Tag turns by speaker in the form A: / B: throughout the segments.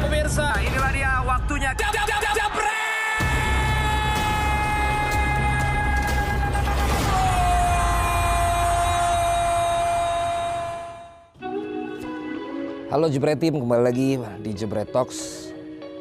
A: pemirsa. Nah, Inilah dia waktunya. Jap, jap, jap, jap, jepret!
B: Halo Jebret Team, kembali lagi di Jebret Talks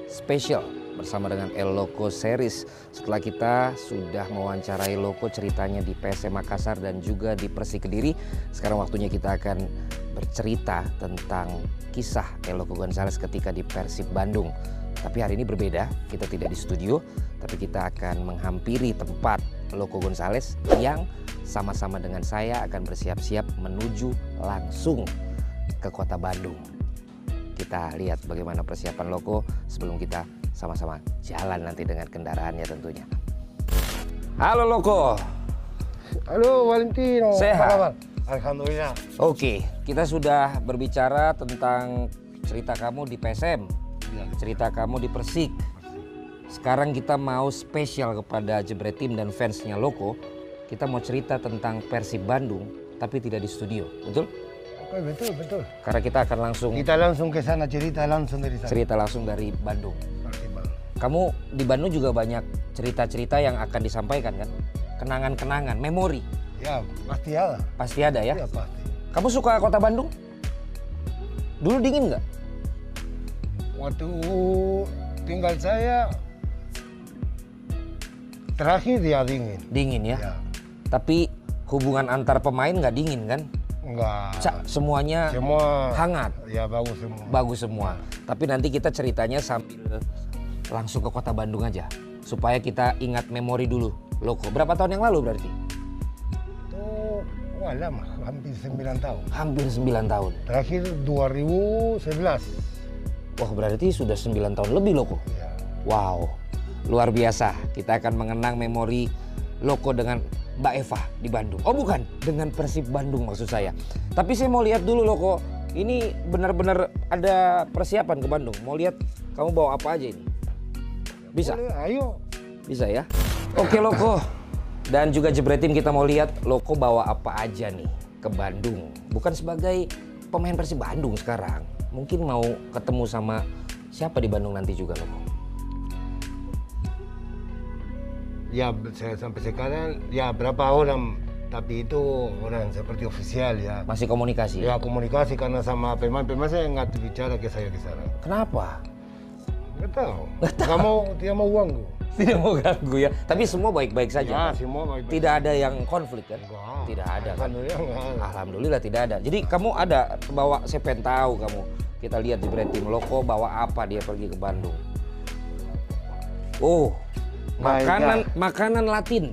B: Special bersama dengan El Loco Series. Setelah kita sudah mewawancarai Loco ceritanya di PSM Makassar dan juga di Persik Kediri, sekarang waktunya kita akan bercerita tentang kisah El Loco Gonzalez ketika di Persib Bandung. Tapi hari ini berbeda, kita tidak di studio, tapi kita akan menghampiri tempat Loco Gonzalez yang sama-sama dengan saya akan bersiap-siap menuju langsung ke kota Bandung. Kita lihat bagaimana persiapan Loko sebelum kita sama-sama jalan nanti dengan kendaraannya tentunya. Halo Loko.
C: Halo Valentino.
B: Sehat?
C: Apa kabar? Alhamdulillah.
B: Oke, kita sudah berbicara tentang cerita kamu di PSM, cerita kamu di Persik. Sekarang kita mau spesial kepada Jebret Tim dan fansnya Loko. Kita mau cerita tentang Persib Bandung, tapi tidak di studio, betul?
C: Oke, betul, betul.
B: Karena kita akan langsung
C: Kita langsung ke sana cerita langsung dari sana.
B: cerita langsung dari Bandung.
C: Oke, Bang.
B: Kamu di Bandung juga banyak cerita-cerita yang akan disampaikan kan? Kenangan-kenangan, memori.
C: Ya, pasti ada.
B: Pasti ada ya.
C: Ya, pasti.
B: Kamu suka kota Bandung? Dulu dingin nggak?
C: Waktu tinggal saya terakhir dia dingin.
B: Dingin ya.
C: Ya,
B: Tapi hubungan antar pemain nggak dingin kan?
C: enggak.
B: Ca- semuanya
C: semua
B: hangat.
C: Ya bagus semua.
B: bagus semua. Tapi nanti kita ceritanya sambil langsung ke kota Bandung aja. Supaya kita ingat memori dulu. Loko, berapa tahun yang lalu berarti?
C: Itu wah lama, hampir 9 tahun.
B: Hampir 9 tahun.
C: Terakhir 2011.
B: Wah berarti sudah 9 tahun lebih Loko.
C: Ya.
B: Wow, luar biasa. Kita akan mengenang memori Loko dengan Mbak Eva di Bandung. Oh bukan, dengan Persib Bandung maksud saya. Tapi saya mau lihat dulu Loko. Ini benar-benar ada persiapan ke Bandung. Mau lihat kamu bawa apa aja ini? Bisa?
C: Boleh, ayo.
B: Bisa ya? Oke Loko. Dan juga Jebretim kita mau lihat Loko bawa apa aja nih ke Bandung. Bukan sebagai pemain Persib Bandung sekarang. Mungkin mau ketemu sama siapa di Bandung nanti juga Loko.
C: Ya saya sampai sekarang ya berapa orang tapi itu orang seperti ofisial ya.
B: Masih komunikasi?
C: Ya komunikasi karena sama pemain-pemain saya nggak bicara ke saya ke sana.
B: Kenapa?
C: Nggak tahu. Nggak mau dia mau uang gua.
B: Tidak mau ganggu ya. Tapi semua baik-baik
C: Ya
B: saja. kan?
C: semua baik.
B: Tidak ada yang konflik kan?
C: Nggak.
B: Tidak ada kan?
C: Alhamdulillah ya, nggak ada.
B: Alhamdulillah tidak ada. Jadi kamu ada bawa saya pengen tahu kamu. Kita lihat di brand tim Loko bawa apa dia pergi ke Bandung. Oh,
C: My
B: makanan makanan Latin.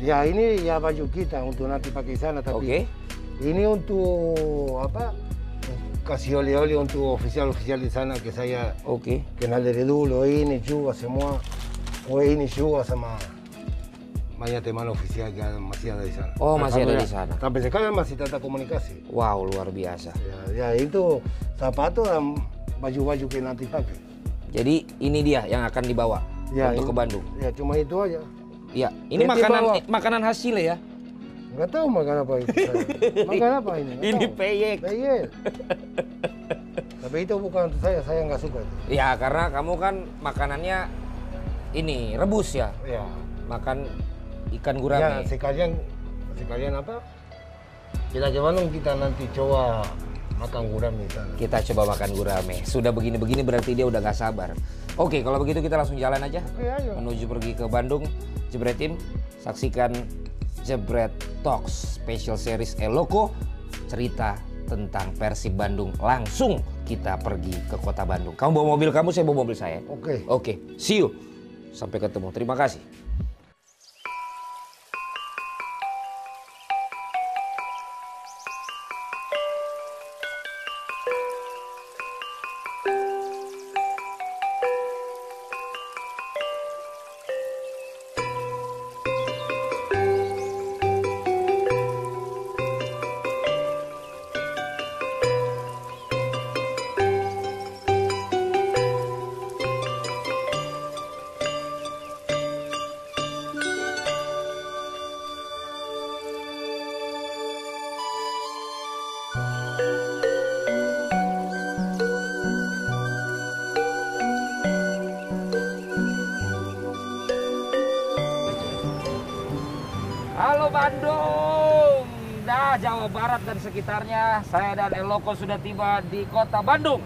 C: Ya ini ya baju kita untuk nanti pakai sana tapi
B: Oke.
C: ini untuk apa? Kasih oli-oli untuk ofisial-ofisial di sana que saya
B: Oke.
C: kenal dari dulu ini juga semua. Oh ini juga sama banyak teman ofisial yang masih ada di sana.
B: Oh, masih ada di
C: Alhamdulillah.
B: sana.
C: Sampai sekarang masih tetap komunikasi.
B: Wow, luar biasa.
C: Ya, ya itu sepatu dan baju-baju que nanti pakai.
B: Jadi ini dia yang akan dibawa
C: Ya,
B: untuk
C: ini-
B: ke Bandung.
C: Ya cuma itu aja.
B: Iya, ini
C: Nanti
B: makanan
C: bawa.
B: eh, makanan hasil ya.
C: Nggak tahu makan apa itu. saya. makan apa ini? Nggak
B: Ini
C: tahu.
B: peyek.
C: Peyek. Tapi itu bukan untuk saya, saya nggak suka itu.
B: Ya, karena kamu kan makanannya ini rebus ya.
C: Ya.
B: Makan ikan
C: Ya
B: gurame.
C: sekalian sekalian apa? Kita ke Bandung kita nanti coba makan gurami di sana.
B: Kita coba makan gurame. Sudah begini-begini berarti dia udah gak sabar. Oke, kalau begitu kita langsung jalan aja.
C: Oke, ayo.
B: Menuju pergi ke Bandung, Jebret Tim. Saksikan Jebret Talks Special Series Eloko. Cerita tentang Persib Bandung. Langsung kita pergi ke kota Bandung. Kamu bawa mobil kamu, saya bawa mobil saya.
C: Oke.
B: Oke, see you. Sampai ketemu. Terima kasih.
A: Bandung. Nah, Jawa Barat dan sekitarnya, saya dan Eloko sudah tiba di kota Bandung.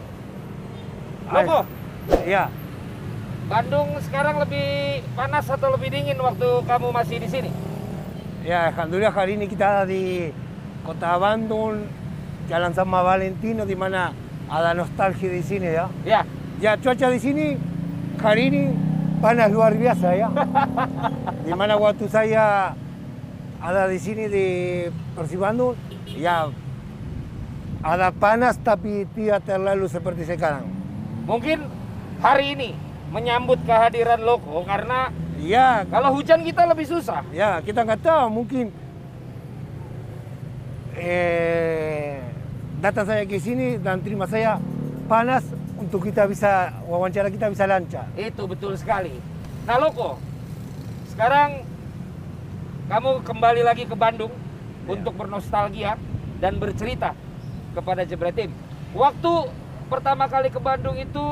B: Eh,
A: Loko,
C: Iya,
A: Bandung sekarang lebih panas atau lebih dingin waktu kamu masih di sini?
C: ya alhamdulillah hari ini kita ada di Kota Bandung, Jalan Sama Valentino di mana ada nostalgia di sini ya.
A: Ya,
C: Ya cuaca di sini hari ini panas luar biasa ya. Di mana waktu saya ada di sini di Persib Bandung, ya ada panas tapi tidak terlalu seperti sekarang.
A: mungkin hari ini menyambut kehadiran Loko karena
C: Ya,
A: kalau hujan kita lebih susah.
C: Ya, kita nggak tahu mungkin eh, datang saya ke sini dan terima saya panas untuk kita bisa wawancara kita bisa lancar.
A: Itu betul sekali. Nah, Loko, sekarang kamu kembali lagi ke Bandung untuk bernostalgia dan bercerita kepada Jebretim. Waktu pertama kali ke Bandung itu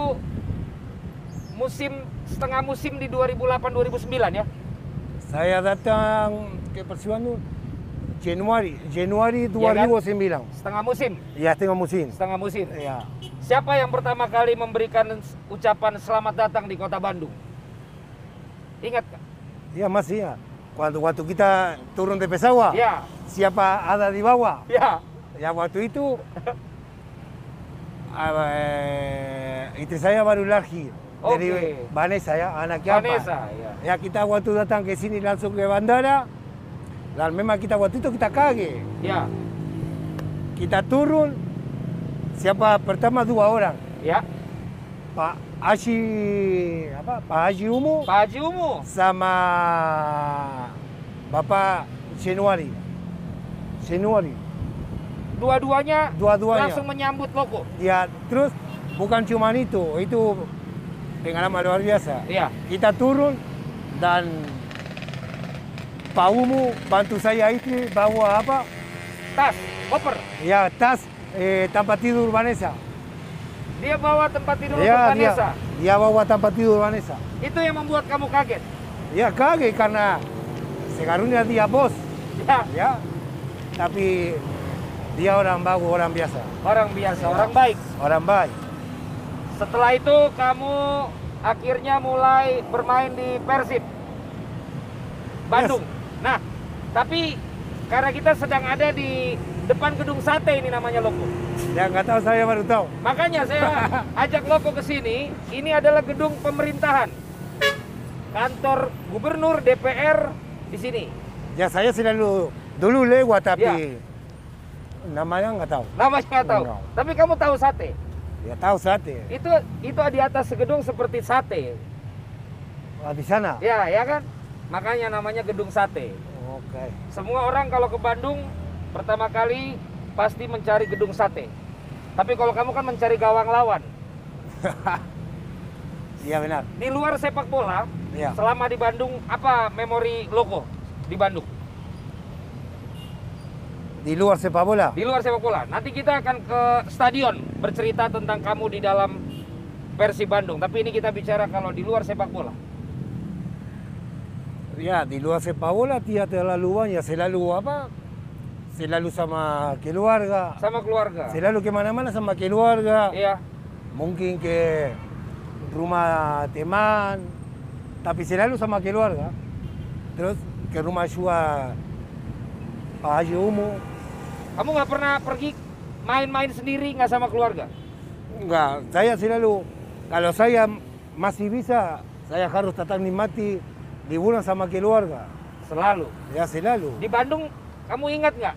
A: musim setengah musim di 2008-2009 ya.
C: Saya datang ke Persiwa Nur Januari, Januari
A: Ya kan?
C: 2009.
A: Setengah musim,
C: Ya, tengah musim.
A: setengah musim.
C: Ya.
A: Siapa yang pertama kali memberikan ucapan selamat datang di Kota Bandung? Ingat? nggak?
C: Ya, masih ya. Waktu, waktu kita turun di pesawat,
A: Ya,
C: siapa ada di bawah?
A: ya.
C: Ya waktu itu apa, eh, istri saya baru lahir dari
A: Oke.
C: Vanessa ya anaknya apa?
A: Vanessa, ya.
C: Ya kita waktu datang ke sini langsung ke bandara dan memang kita waktu itu kita kaget
A: Ya,
C: kita turun siapa pertama dua orang
A: ya.
C: Pak Haji apa Pak Haji Umu
A: Pak Haji Umu.
C: sama Bapak Senuari Senuari
A: dua-duanya
C: dua-duanya
A: langsung menyambut loko.
C: Ya, terus bukan cuma itu, itu pengalaman luar biasa.
A: Iya.
C: Kita turun dan Pak Umu bantu saya itu bawa apa?
A: Tas, koper.
C: Ya, tas eh, tempat tidur Vanessa.
A: Dia bawa tempat tidur
C: ya,
A: untuk Vanessa.
C: Dia, dia bawa tempat tidur Vanessa.
A: Itu yang membuat kamu kaget.
C: Ya, kaget karena sekarangnya dia bos.
A: Ya,
C: Ya, tapi dia orang bagus, orang biasa.
A: orang biasa, orang baik.
C: Orang baik.
A: Setelah itu kamu akhirnya mulai bermain di Persib Bandung. Nah, tapi karena kita sedang ada di depan gedung sate ini namanya loko.
C: Ya, nggak tahu saya baru tahu.
A: Makanya saya ajak Loko ke sini. Ini adalah gedung pemerintahan. Kantor gubernur DPR di sini.
C: Ya saya selalu dulu lewat tapi
A: Ya.
C: namanya nggak tahu.
A: Namanya nggak tahu.
C: Enggak.
A: Tapi kamu tahu sate.
C: Ya tahu sate.
A: Itu itu di atas gedung seperti sate.
C: Ah, Di sana.
A: Ya, ya kan? Makanya namanya gedung sate.
C: Oke.
A: Semua orang kalau ke Bandung pertama kali pasti mencari gedung sate. Tapi kalau kamu kan mencari gawang lawan.
C: Iya benar.
A: Di luar sepak bola,
C: Ya.
A: selama di Bandung apa memori Loko di Bandung?
C: Di luar sepak bola.
A: di luar sepak bola. Nanti kita akan ke stadion bercerita tentang kamu di dalam versi Bandung. Tapi ini kita bicara kalau di luar sepak bola.
C: Ya di luar sepak bola dia terlalu banyak selalu apa? Selalu sama keluarga.
A: Sama keluarga.
C: Selalu kemana-mana sama keluarga.
A: Iya.
C: Mungkin ke rumah teman. Tapi selalu sama keluarga. Terus ke rumah juga Pak Haji Umu.
A: Kamu nggak pernah pergi main-main sendiri nggak sama keluarga?
C: Enggak, saya selalu kalau saya masih bisa, saya harus tetap nikmati liburan sama keluarga.
A: Selalu.
C: Ya selalu.
A: Di Bandung kamu ingat nggak?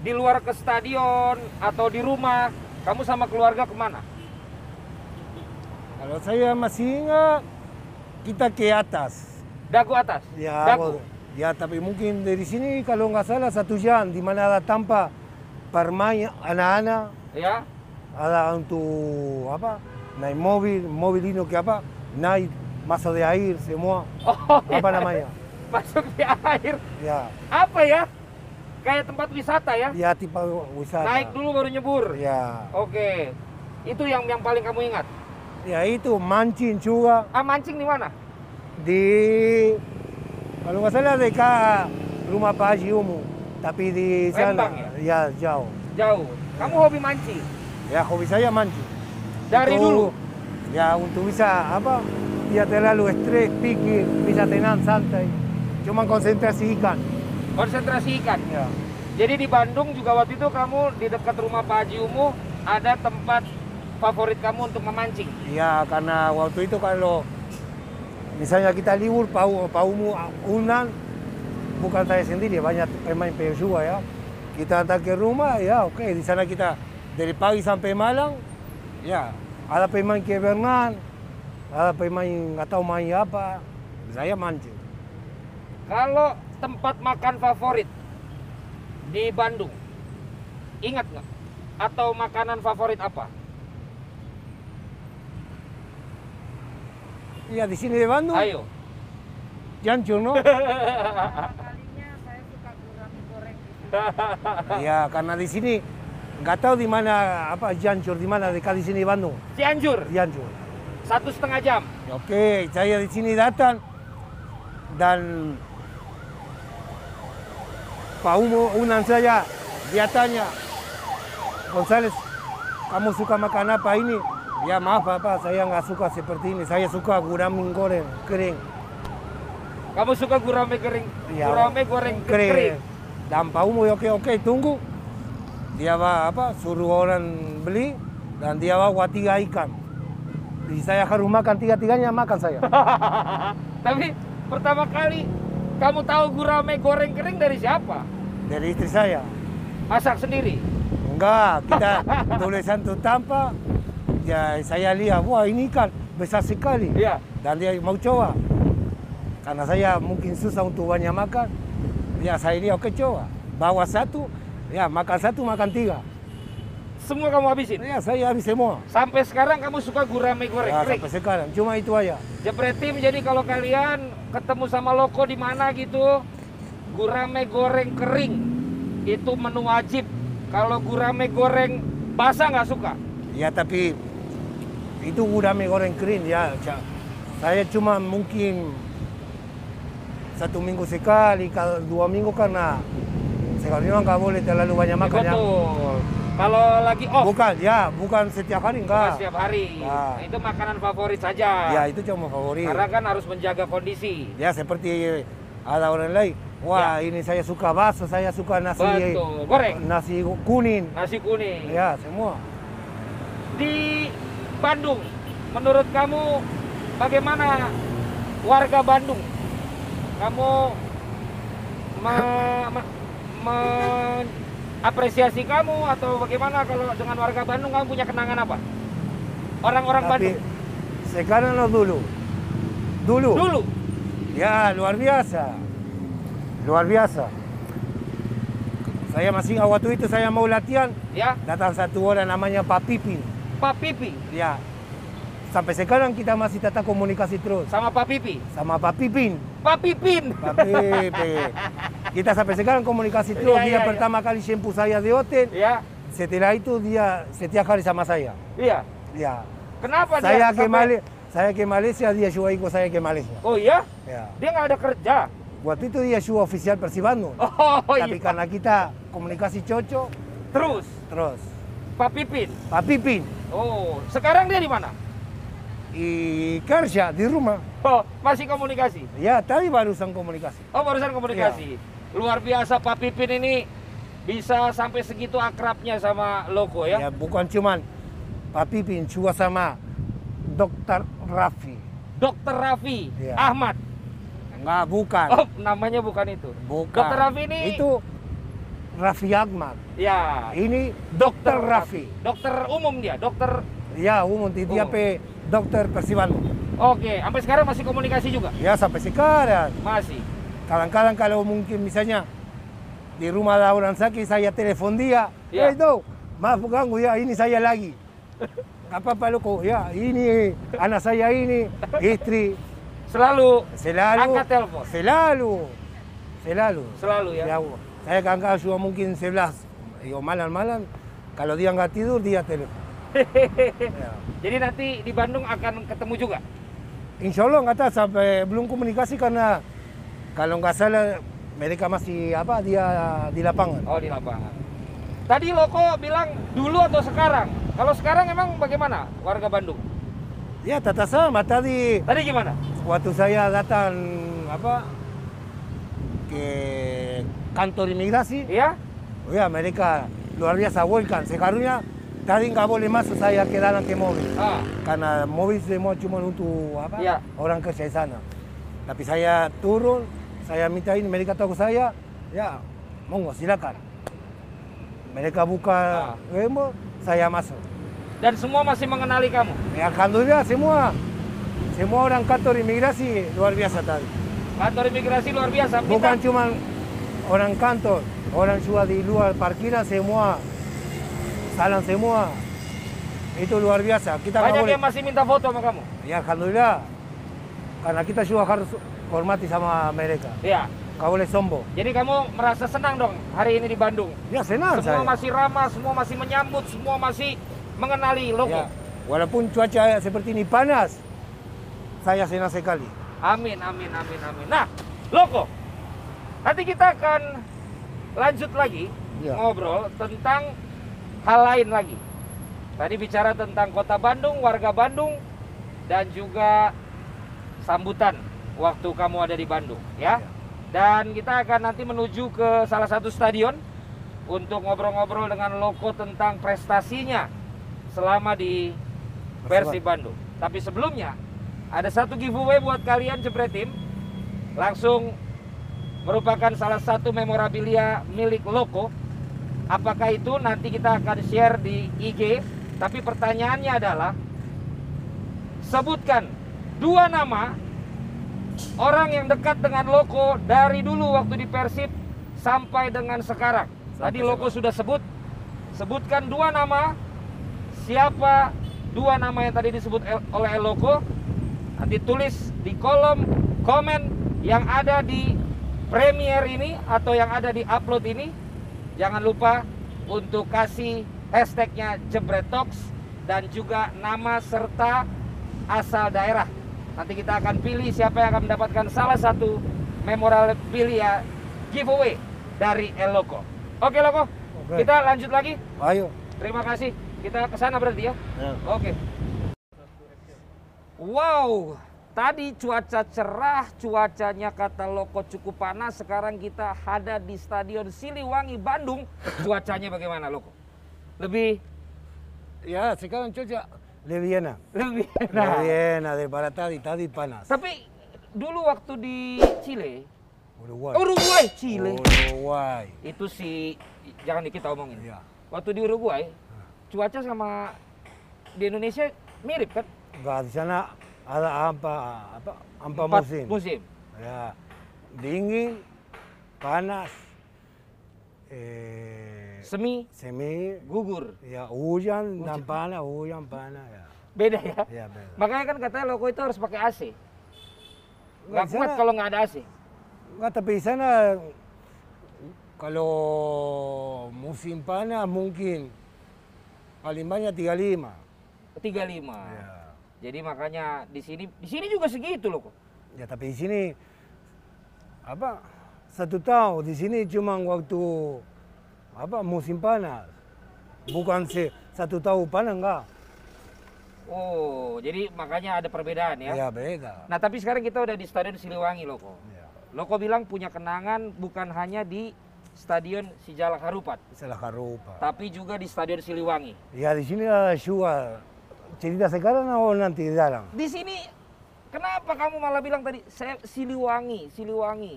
A: Di luar ke stadion atau di rumah, kamu sama keluarga kemana?
C: Kalau saya masih ingat, kita ke atas.
A: Dagu atas.
C: Ya,
A: Dagu.
C: ya tapi mungkin dari sini kalau nggak salah satu jam di mana ada tanpa permain anak-anak,
A: Ya.
C: ada untuk apa? Naik mobil, mobil ini que apa? Naik masa de air semua.
A: Oh,
C: Apa namanya?
A: masuk di air.
C: Ya,
A: Apa ya? Kayak tempat wisata ya?
C: ya tipe wisata.
A: Naik dulu baru nyebur.
C: Ya.
A: Oke. Itu yang yang paling kamu ingat.
C: Ya itu mancing juga
A: Ah mancing di mana?
C: di kalau nggak salah dekat rumah Pak Haji Umu, tapi di sana
A: Lembang
C: ya? jauh.
A: Jauh. Kamu hobi mancing?
C: Ya hobi saya mancing.
A: Dari
C: Untuk-
A: dulu?
C: Ya untuk bisa apa? Tidak terlalu stres, pikir, bisa tenang, santai. Cuma konsentrasi ikan.
A: Konsentrasi ikan?
C: Ya.
A: Jadi di Bandung juga waktu itu kamu di dekat rumah Pak Haji Umu ada tempat favorit kamu untuk memancing.
C: Ya, karena waktu itu kalau misalnya kita libur, Pau, Paumu Unan, bukan saya sendiri, banyak pemain juga ya. Kita antar ke rumah, ya oke, di sana kita dari pagi sampai malam, ya ada pemain ke Bernan, ada pemain nggak tahu main apa, saya mancing.
A: Kalau tempat makan favorit di Bandung, ingat nggak? Atau makanan favorit apa?
C: Ya di sini di Bandung,
A: Ayo.
C: Jancur, no?
D: kalinya saya suka gurami goreng di sini.
C: ya, karena di sini nggak tahu di mana apa Jancur, di mana dekat di sini di Bandung,
A: Cianjur,
C: Jancur.
A: satu setengah jam.
C: Oke, saya di sini datang dan Pak Umo unan saya dia tanya González kamu suka makan apa ini? Ya maaf papa, saya nggak suka seperti ini. Saya suka gurami goreng kering.
A: Kamu suka gurame kering,
C: Ya,
A: gurame goreng kering.
C: Dan Pak Umo oke oke tunggu. Dia va apa suruh orang beli dan dia bawa tiga ikan. Jadi saya harus makan tiga-tiganya makan saya.
A: Tapi pertama kali kamu tahu gurame goreng kering dari siapa?
C: Dari istri saya.
A: Masak sendiri.
C: Enggak, kita tulisan tu tanpa ya saya lihat, wah ini ikan besar sekali.
A: Iya.
C: Dan dia mau coba. Karena saya mungkin susah untuk banyak makan. Ya saya lihat, oke coba. Bawa satu, ya makan satu, makan tiga.
A: Semua kamu habisin.
C: Ya saya habis semua.
A: Sampai sekarang kamu suka gurame goreng
C: Ya,
A: kering.
C: sampai sekarang, cuma itu aja.
A: Jepret tim jadi kalau kalian ketemu sama loko di mana gitu, gurame goreng kering itu menu wajib. Kalau gurame goreng basah nggak suka.
C: Ya tapi itu gurame goreng kering ya. ca- Saya cuma mungkin satu minggu sekali, kalau dua minggu karena sekarang nggak boleh terlalu banyak makan ya.
A: Betul. Kalau lagi off
C: Bukan, ya, bukan setiap hari
A: bukan
C: enggak.
A: setiap hari.
C: Nah.
A: Itu makanan favorit saja.
C: Ya, itu cuma favorit.
A: Karena kan harus menjaga kondisi.
C: Ya, seperti eh, ada orang lain. Wah, ini saya suka bakso, saya suka nasi
A: Betul. Goreng.
C: nasi kuning.
A: Nasi kuning.
C: eh, Ya, semua.
A: Di Bandung, menurut kamu bagaimana warga Bandung? Kamu me- me- mengapresiasi kamu atau bagaimana kalau dengan warga Bandung kamu punya kenangan apa? Orang-orang
C: Tapi
A: Bandung
C: sekarang no dulu. Dulu.
A: dulu
C: Ya, luar biasa. Luar biasa. Saya masih waktu itu saya mau latihan,
A: ya,
C: datang satu orang namanya Pak Pipi.
A: Pak Pipi
C: Ya. Sampai sekarang kita masih tetap komunikasi terus
A: sama Pak Pipi.
C: sama Pak Pipin.
A: Pak Pipin.
C: Tapi pe- kita sampai sekarang komunikasi terus.
A: Iya,
C: dia
A: iya, iya.
C: pertama kali jemput saya di hotel.
A: Ya,
C: Setelah itu dia setiap hari sama saya.
A: iya.
C: Ya.
A: Kenapa dia?
C: Saya
A: sampai-
C: ke Male- saya ke Malaysia, dia juga ikut saya ke Malaysia.
A: Oh iya,
C: Ya.
A: dia nggak ada kerja.
C: Waktu itu dia juga ofisial Persibandung.
A: Oh
C: Tapi kan-
A: iya.
C: karena kita komunikasi cocok,
A: Terus
C: terus.
A: Pak Pipin.
C: Pak Pipin,
A: Oh, sekarang dia di mana?
C: i kerja di rumah.
A: Oh, masih komunikasi.
C: Ya, tadi barusan komunikasi.
A: Oh, barusan
C: Iya.
A: komunikasi. Luar biasa Pak Pipin ini bisa sampai segitu akrabnya sama Loko
C: Ya,
A: ya.
C: bukan cuman Pak Pipin, juga sama Dokter Raffi.
A: Dokter Raffi
C: Iya.
A: Ahmad.
C: Enggak, bukan.
A: Oh, namanya bukan itu.
C: Bukan.
A: Dokter Raffi ini
C: Nah, Itu Raffi Ahmad.
A: ya
C: Ini Dokter Raffi.
A: Dokter umum dia, dokter.
C: Ya, umum di dia
A: Oh.
C: pe Dokter Persibandung.
A: Oke, sampai sekarang masih komunikasi juga.
C: Ya sampai sekarang.
A: Masih.
C: Kadang-kadang kalau mungkin misalnya di rumah ada orang sakit saya telepon dia.
A: Ya.
C: Ya. itu, maaf ganggu ya, ini saya lagi. Gak apa-apa loco, ya ini anak saya ini, istri,
A: Selalu
C: selalu.
A: Angkat telepon.
C: Selalu, selalu.
A: selalu ya.
C: Ya, saya kadang-kadang juga mungkin 11, digo malam-malam, kalau dia nggak tidur dia telepon. Ya.
A: Jadi nanti di Bandung akan ketemu juga.
C: Insya Allah nggak tahu sampai belum komunikasi karena kalau nggak salah mereka masih apa dia di lapangan.
A: Oh di lapangan. Tadi Loko bilang dulu atau sekarang? Kalau sekarang emang bagaimana warga Bandung?
C: Ya tata sama tadi
A: Tadi gimana?
C: waktu saya datang apa ke kantor imigrasi,
A: Iya?
C: ya mereka luar biasa welcome. Sekarangnya tadi nggak boleh masuk saya ke dalam ke mobil.
A: Ah,
C: Karena mobil semua cuma untuk apa?
A: Iya.
C: Orang kerja di sana. Tapi saya turun, saya mintain mereka tahu saya, ya monggo silakan. Mereka buka
A: Ah.
C: remo, saya masuk.
A: dan semua masih mengenali kamu.
C: Ya, alhamdulillah semua semua orang kantor imigrasi luar biasa tadi.
A: Kantor imigrasi luar biasa. Minta-
C: Bukan cuma orang kantor, orang juga di luar parkiran semua salam semua. Itu luar biasa. Kita nggak
A: banyak
C: boleh-
A: yang masih minta foto sama kamu.
C: Ya alhamdulillah. Karena kita juga harus hormati sama mereka.
A: Iya.
C: Kau boleh sombong.
A: Jadi kamu merasa senang dong hari ini di Bandung.
C: Ya senang
A: semua
C: saya.
A: masih ramah, semua masih menyambut, semua masih mengenali Loko.
C: Ya, Walaupun cuaca seperti ini panas, saya senang sekali.
A: Amin, amin, amin, amin. Nah, Loko, nanti kita akan lanjut lagi
C: Ya.
A: ngobrol tentang hal lain lagi. Tadi bicara tentang kota Bandung, warga Bandung, dan juga sambutan waktu kamu ada di Bandung, ya. Dan kita akan nanti menuju ke salah satu stadion untuk ngobrol-ngobrol dengan Loko tentang prestasinya selama di Persib Bandung. Tapi sebelumnya ada satu giveaway buat kalian jebret tim. Langsung merupakan salah satu memorabilia milik Loko. Apakah itu nanti kita akan share di IG. Tapi pertanyaannya adalah sebutkan dua nama orang yang dekat dengan Loko dari dulu waktu di Persib sampai dengan sekarang. Tadi Loko sudah sebut. Sebutkan dua nama siapa dua nama yang tadi disebut El- oleh Eloko nanti tulis di kolom komen yang ada di premier ini atau yang ada di upload ini jangan lupa untuk kasih hashtagnya jebretox dan juga nama serta asal daerah nanti kita akan pilih siapa yang akan mendapatkan salah satu memorabilia giveaway dari Eloko oke Loko
C: Oke.
A: kita lanjut lagi
C: Ayo.
A: Terima kasih. Kita ke sana berarti ya.
C: Ya.
A: Oke. Wow, tadi cuaca cerah, cuacanya kata Loko cukup panas. Sekarang kita ada di Stadion Siliwangi, Bandung. Cuacanya bagaimana Loko? Lebih
C: Ya sekarang cuaca lebih enak.
A: lebih
C: Lebih
A: enak.
C: enak daripada tadi, tadi panas.
A: Tapi dulu waktu di Chile,
C: Uruguay.
A: Uruguay, Chile.
C: Oh. Uruguay.
A: Itu si jangan kita omongin.
C: Ya.
A: Waktu di Uruguay, cuaca sama di Indonesia mirip kan?
C: Enggak, di sana ada apa apa hampa
A: Empat
C: Oh, musim.
A: musim.
C: Ya, dingin, panas, eh,
A: Semi
C: semi,
A: gugur.
C: ya hujan dan panas, hujan panas ya.
A: Beda ya.
C: Ya beda.
A: Makanya kan katanya loko itu harus pakai AC. Nggak
C: Nggak
A: kuat
C: bisa.
A: kalau nggak ada AC.
C: Enggak, tapi di sana kalau musim panas mungkin paling banyak 35.
A: 35.
C: Ya.
A: Jadi makanya di sini di sini juga segitu loh kok.
C: ya tapi di sini apa satu tahun di sini cuma waktu apa musim panas. Bukan se satu tahun panas enggak.
A: Oh, jadi makanya ada perbedaan ya.
C: Ya, beda.
A: Nah, tapi sekarang kita udah di Stadion Siliwangi loh kok.
C: Ya,
A: Loko bilang punya kenangan bukan hanya di Stadion Sijalak Harupat,
C: salah karupa.
A: tapi juga di Stadion Siliwangi.
C: Ya di sini ada juga cerita sekarang atau nanti di dalam.
A: Di sini kenapa kamu malah bilang tadi saya Siliwangi, Siliwangi?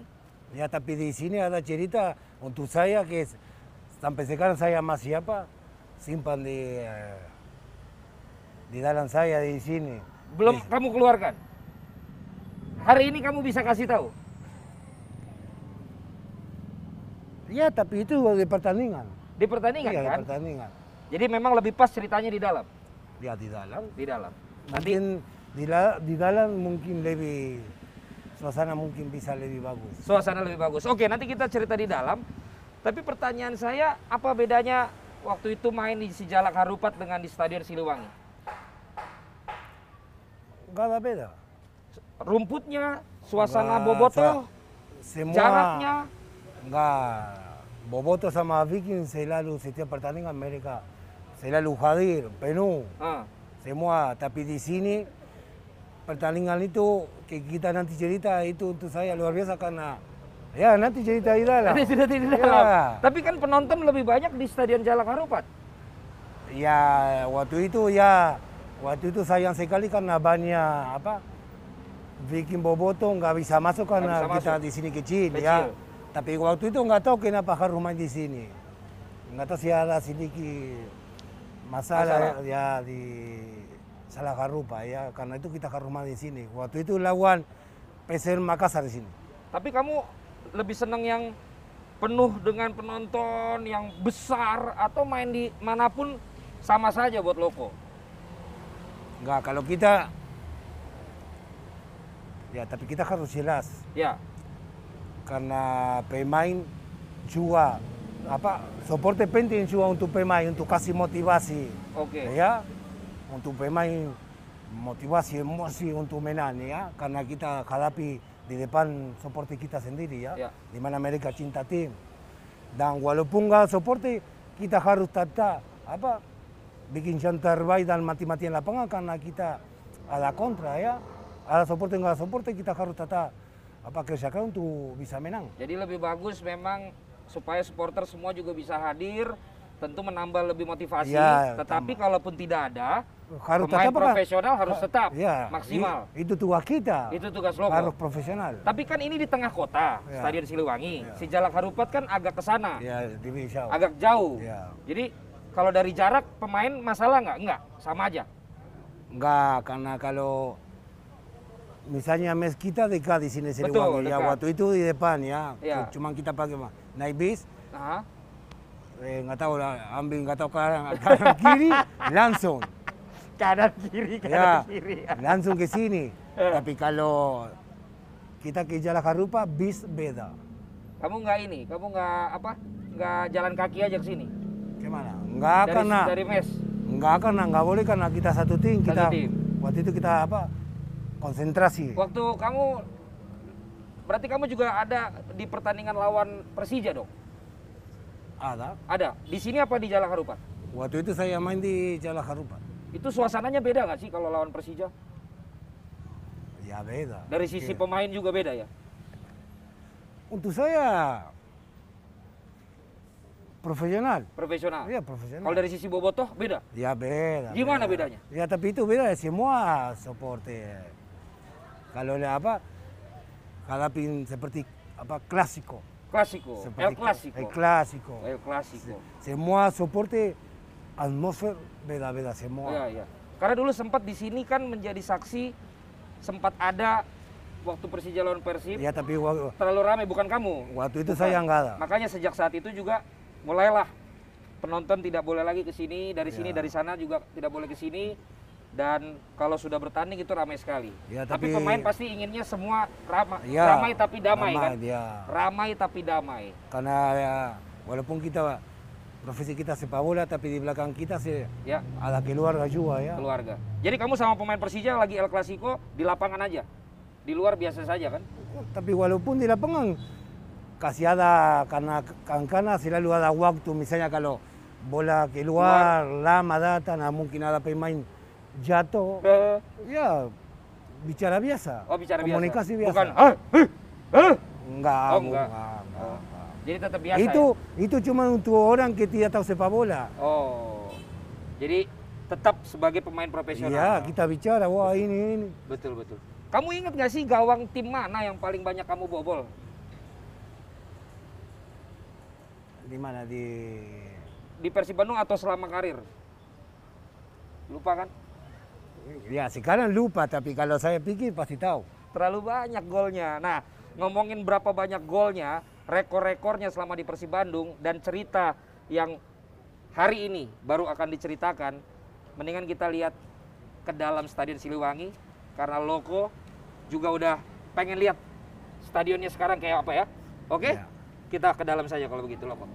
C: Ya tapi di sini ada cerita untuk saya que es- sampai sekarang saya masih apa simpan di eh, di dalam saya di sini.
A: belum
C: Iya.
A: kamu keluarkan. Hari ini kamu bisa kasih tahu.
C: Ya tapi itu di pertandingan.
A: Di pertandingan
C: ya, di
A: kan?
C: pertandingan.
A: Jadi memang lebih pas ceritanya di dalam,
C: Ya di dalam.
A: di dalam. Nanti
C: Mungkin di, la- di dalam mungkin lebih suasana mungkin bisa lebih bagus.
A: suasana lebih bagus. Oke, nanti kita cerita di dalam. Tapi pertanyaan saya, apa bedanya waktu itu main di Sijalak Harupat dengan di Stadion Siliwangi?
C: Enggak ada beda.
A: Rumputnya, suasana
C: Enggak,
A: bobotoh,
C: sa- semua
A: jaraknya,
C: nggak Boboto sama Viking selalu setiap pertandingan mereka selalu hadir, penuh.
A: Ah,
C: Semua, tapi di sini pertandingan itu ke kita nanti cerita itu untuk saya luar biasa karena ya nanti cerita di dalam.
A: Ini sudah tidak
C: Ya.
A: dalam. Tapi kan penonton lebih banyak di Stadion Jalak Harupat.
C: Ya waktu itu ya waktu itu sayang sekali karena banyak apa bikin boboto nggak bisa masuk karena
A: bisa
C: kita
A: masuk.
C: di sini kecil,
A: Kecil.
C: ya. Tapi waktu itu nggak tahu kenapa har rumah di sini. Nggak tahu si ada sedikit masalah,
A: Masalah.
C: ya di salah Harupa ya karena itu kita har rumah di sini. Waktu itu lawan PSM Makassar di sini.
A: Tapi kamu lebih seneng yang penuh dengan penonton yang besar atau main di manapun sama saja buat loko.
C: Nggak kalau kita ya tapi kita harus jelas
A: Ya,
C: karena pemain juga apa soporte penting juga untuk pemain untuk kasih motivasi
A: oke.
C: ya untuk pemain motivasi emosi untuk menang ya karena kita hadapi di depan soporte kita sendiri ya,
A: Ya.
C: di mana mereka cinta tim dan walaupun nggak soporte kita harus tetap apa bikin yang terbaik dan mati-matian lapangan karena kita ada kontra ya ada soporte nggak soporte kita harus tetap apa kerjakan untuk bisa menang
A: Jadi lebih bagus memang supaya supporter semua juga bisa hadir, tentu menambah lebih motivasi.
C: Ya,
A: Tetapi kalaupun tidak ada,
C: harus
A: pemain
C: tetap apa?
A: profesional harus tetap
C: Ya,
A: maksimal.
C: i- itu tugas kita
A: Itu tugas
C: Iya. harus
A: loko.
C: profesional
A: Tapi kan ini di tengah kota,
C: Ya.
A: Stadion Siliwangi. Si Jalak Harupat kan agak ke sana,
C: ya di Indonesia.
A: agak jauh.
C: Ya.
A: Jadi kalau dari jarak pemain masalah nggak? Nggak, sama aja.
C: Enggak, karena kalau misalnya mezquita dekat di sini
A: Betul,
C: Siliwangi ya
A: dekat.
C: waktu itu di depan ya.
A: Ya.
C: Cuman kita pakai mah naik bis
A: Nah,
C: eh, nggak tahu lah ambil nggak tahu kanan, kanan kiri langsung
A: kanan kiri,
C: ya
A: kanan kiri. Eh.
C: langsung ke sini. Tapi kalau kita ke Jalan Harupa bis beda.
A: Kamu nggak ini, kamu nggak apa? Nggak jalan kaki aja ke sini.
C: Gimana? Enggak
A: Dari,
C: karena
A: dari mes.
C: enggak karena enggak boleh karena kita satu tim
A: Satu
C: kita
A: tim.
C: waktu itu kita apa? konsentrasi.
A: Waktu kamu berarti kamu juga ada di pertandingan lawan Persija dong?
C: Ada.
A: Ada. Di sini apa di Jalan Harupat?
C: Waktu itu saya main di Jalan Harupa.
A: Itu suasananya beda nggak sih kalau lawan Persija?
C: Ya beda.
A: Dari sisi
C: Oke.
A: pemain juga beda ya?
C: Untuk saya profesional.
A: Profesional.
C: Ya profesional.
A: Kalau dari sisi Bobotoh beda?
C: Ya beda.
A: Gimana bedanya?
C: Ya tapi itu beda semua soporte. Kalau ada apa hadapin seperti apa klasiko.
A: Klasiko,
C: Seperti
A: El Eh. Clasico.
C: El Clasico.
A: El Clasico.
C: Semua soporte atmosfer beda-beda semua.
A: Iya, iya. Karena dulu sempat di sini kan menjadi saksi sempat ada waktu Persija lawan Persib
C: Ya tapi wa-
A: terlalu ramai bukan kamu.
C: waktu itu
A: Bukan.
C: saya nggak ada.
A: Makanya sejak saat itu juga mulailah penonton tidak boleh lagi ke sini,
C: Ya.
A: dari sini dari sana juga tidak boleh ke sini dan kalau sudah bertanding itu ramai sekali.
C: Ya,
A: tapi,
C: tapi-
A: pemain pasti inginnya semua ramai,
C: Ya,
A: ramai tapi damai,
C: ramai,
A: kan?
C: ya.
A: Ramai tapi damai.
C: Karena ya, walaupun kita profesi kita sepak bola tapi di belakang kita se
A: Ya,
C: ada keluarga juga ya.
A: keluarga. Jadi kamu sama pemain Persija lagi El Clasico di lapangan aja. Di luar biasa saja kan?
C: Tapi walaupun di lapangan kasih ada karena kankana selalu ada waktu misalnya kalau bola keluar lama datang nah mungkin ada pemain jatuh ya bicara biasa
A: Oh, bicara biasa.
C: komunikasi biasa
A: Bukan, "Ah, eh, eh."
C: enggak,
A: Oh,
C: bu-
A: enggak.
C: enggak, enggak, enggak.
A: Jadi tetap biasa.
C: itu
A: ya?
C: itu cuma untuk orang que tidak tahu sepak bola
A: Oh. Jadi tetap sebagai pemain profesional.
C: ya kita bicara wah ini ini
A: Betul, betul. Kamu ingat nggak sih gawang tim mana yang paling banyak kamu bobol?
C: di mana di
A: Di Persib Bandung atau selama karir? Lupa kan?
C: ya sekarang lupa tapi kalau saya pikir pasti tahu
A: Terlalu banyak golnya. Nah, ngomongin berapa banyak golnya, rekor-rekornya selama di Persib Bandung dan cerita yang hari ini baru akan diceritakan, mendingan kita lihat ke dalam Stadion Siliwangi karena Loko juga udah pengen lihat stadionnya sekarang kayak apa ya. Oke?
C: Ya.
A: Kita ke dalam saja kalau begitu Loko.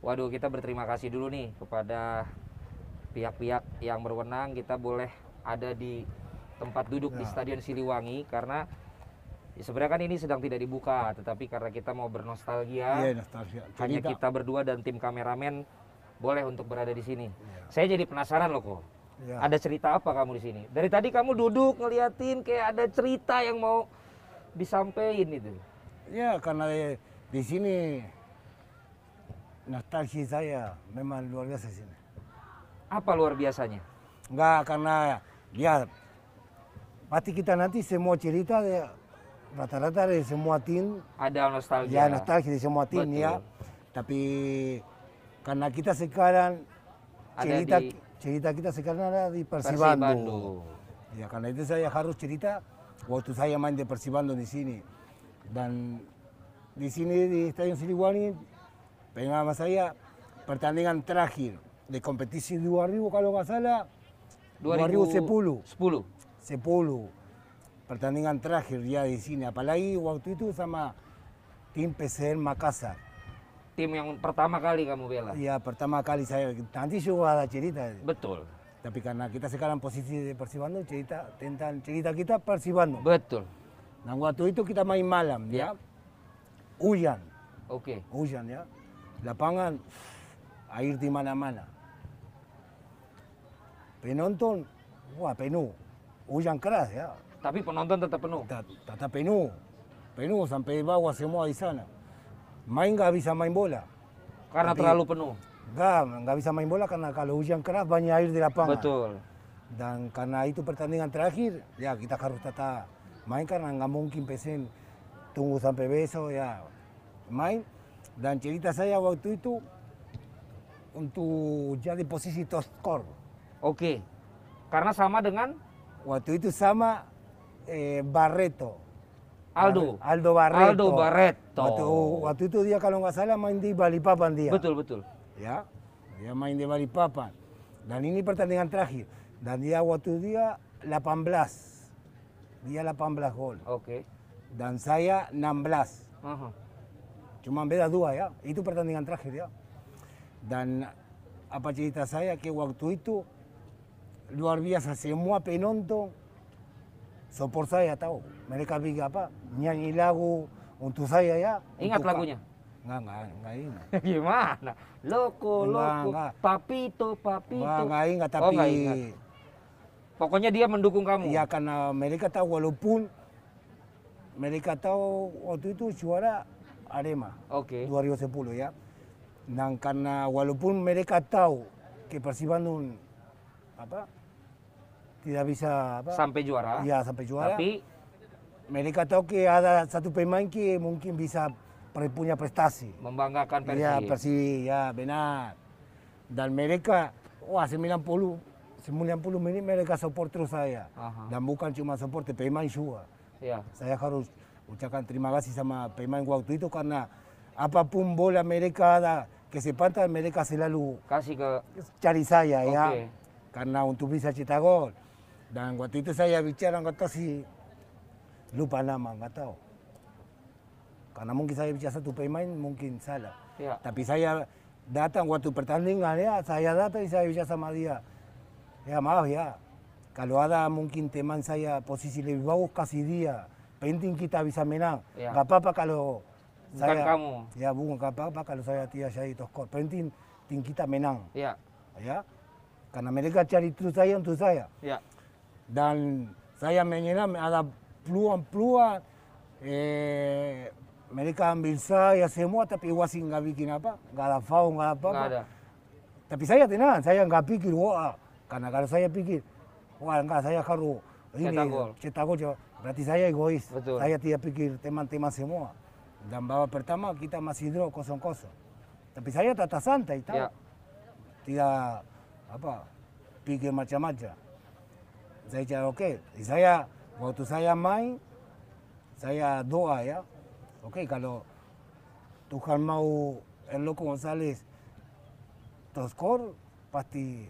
A: Waduh, kita berterima kasih dulu nih kepada pihak-pihak yang
C: Ya.
A: berwenang. Kita boleh ada di tempat duduk di Stadion Siliwangi karena Ya, sebenarnya kan ini sedang tidak dibuka, tetapi karena kita mau bernostalgia,
C: Iya, nostalgia.
A: hanya
C: Cerita.
A: kita berdua dan tim kameramen boleh untuk berada di sini. Saya jadi penasaran loh kok.
C: Iya.
A: Ada cerita apa kamu di sini? Dari tadi kamu duduk ngeliatin kayak ada cerita yang mau disampaikan itu.
C: Ya, karena di, di sini nostalgia saya memang luar biasa di sini.
A: Apa luar biasanya?
C: Enggak, karena ya pasti kita nanti semua cerita de- rata-rata dari semua tim,
A: Ada nostalgia.
C: ya nostalgia di semua tim
A: Betul.
C: ya. Tapi karena kita sekarang
A: Ada
C: cerita
A: di-
C: cerita kita sekarang ada di
A: Persib
C: Persibandung.
A: Bandung.
C: Ya karena itu saya harus cerita waktu saya main di Persibandung di sini dan di sini di Stadion Siliwangi pengalaman saya pertandingan terakhir di kompetisi 2000 kalau nggak salah 2010
A: 10.
C: 10 pertandingan terakhir ya di sini apalagi waktu itu sama tim PSM Makassar
A: Tim yang pertama kali kamu bela.
C: ya pertama kali saya nanti juga ada cerita
A: Betul.
C: tapi karena kita sekarang posisi di Persibandung cerita tentang cerita kita Persibandung
A: Betul.
C: Nah waktu itu kita main malam ya. Hujan,
A: Oke.
C: hujan ya. Lapangan air di mana-mana. Penonton, wah penuh. Hujan keras ya.
A: Tapi penonton tetap penuh.
C: Ta- Tata penuh. Penuh sampai bawah semua di sana. Main nggak bisa main bola.
A: Karena
C: Tapi-
A: terlalu penuh.
C: Nggak, nggak bisa main bola karena kalau hujan keras banyak air di lapangan.
A: Betul.
C: Dan karena itu pertandingan terakhir, ya kita harus tata main karena nggak mungkin pesen tunggu sampai besok ya main. Dan cerita saya waktu itu untuk jadi posisi top skor.
A: Oke. Karena sama dengan
C: Waktu itu sama eh, Barreto.
A: Aldo.
C: Aldo Barreto. uh,
A: Aldo Barreto.
C: Waktu, waktu itu dia kalau nggak salah main di Balikpapan dia.
A: Betul, betul.
C: ya dia main di Balikpapan dan ini pertandingan terakhir dan dia waktu dia 18 dia 18 gol
A: Oke.
C: dan saya 16
A: Aha.
C: cuma beda dua ya itu pertandingan terakhir ya dan apa cerita saya que waktu itu luar biasa semua penonton support saya tahu mereka bikin apa nyanyi lagu untuk saya ya
A: Ingat
C: untuk-
A: lagunya?
C: nggak nggak nggak ingat
A: Gimana? Loko,
C: Enggak,
A: loko.
C: enggak.
A: Papito, papito.
C: nggak nggak ingat
A: Oh,
C: tapi
A: nggak ingat. Pokoknya dia mendukung kamu.
C: Ya karena mereka tahu walaupun mereka tahu waktu itu juara Arema
A: Oke.
C: 2010 ya. Dan karena walaupun mereka tahu ke Persibandung apa tidak bisa apa
A: Sampai juara.
C: ya sampai juara.
A: Tapi
C: mereka tahu ke ada satu pemain que mungkin bisa pre- punya prestasi.
A: membanggakan Persib.
C: Ya Persib ya benar. Dan mereka wah 90 90 menit mereka support terus saya.
A: Aha.
C: Dan bukan cuma support pemain juga.
A: Ya.
C: Saya harus ucapkan terima kasih sama pemain waktu itu karena apapun bola mereka ada que se pantas mereka selalu
A: Kasih ke
C: cari saya ya.
A: Oke.
C: Karena untuk bisa cetak gol. Dan waktu itu saya bicara nggak tahu si lupa nama nggak tahu. Karena mungkin saya bicara satu pemain mungkin salah.
A: ya.
C: Tapi saya datang waktu pertandingan ya, saya datang saya bicara sama dia. Ya maaf ya, kalau ada mungkin teman saya posisi lebih bagus kasih dia. Penting kita bisa menang.
A: Ya.
C: Gak apa-apa kalau
A: Bukan
C: saya...
A: kamu.
C: Ya bukan gak apa-apa kalau saya tidak jadi top skor. Penting, penting kita menang.
A: Ya.
C: Ya. Karena mereka cari terus saya untuk saya.
A: Ya.
C: Dan saya menyelam ada peluang-peluang. Eh, mereka ambil saya semua tapi wasit nggak bikin apa. Nggak ada foul, nggak ada apa-apa.
A: Nggak ada.
C: Tapi saya tenang, saya nggak pikir, wah. Karena kalau saya pikir, wah nggak saya harus ini,
A: Cetak gol.
C: cetak gol. cetak- Berarti saya egois.
A: Betul.
C: Saya tidak pikir teman-teman semua. Dan babak pertama kita masih draw kosong-kosong. Tapi saya tata santai, tahu?
A: Ya.
C: tidak apa pikir macam-macam. Saya cakap okey. Saya waktu saya main saya doa ya. Okey kalau Tuhan mau el loco González toskor pasti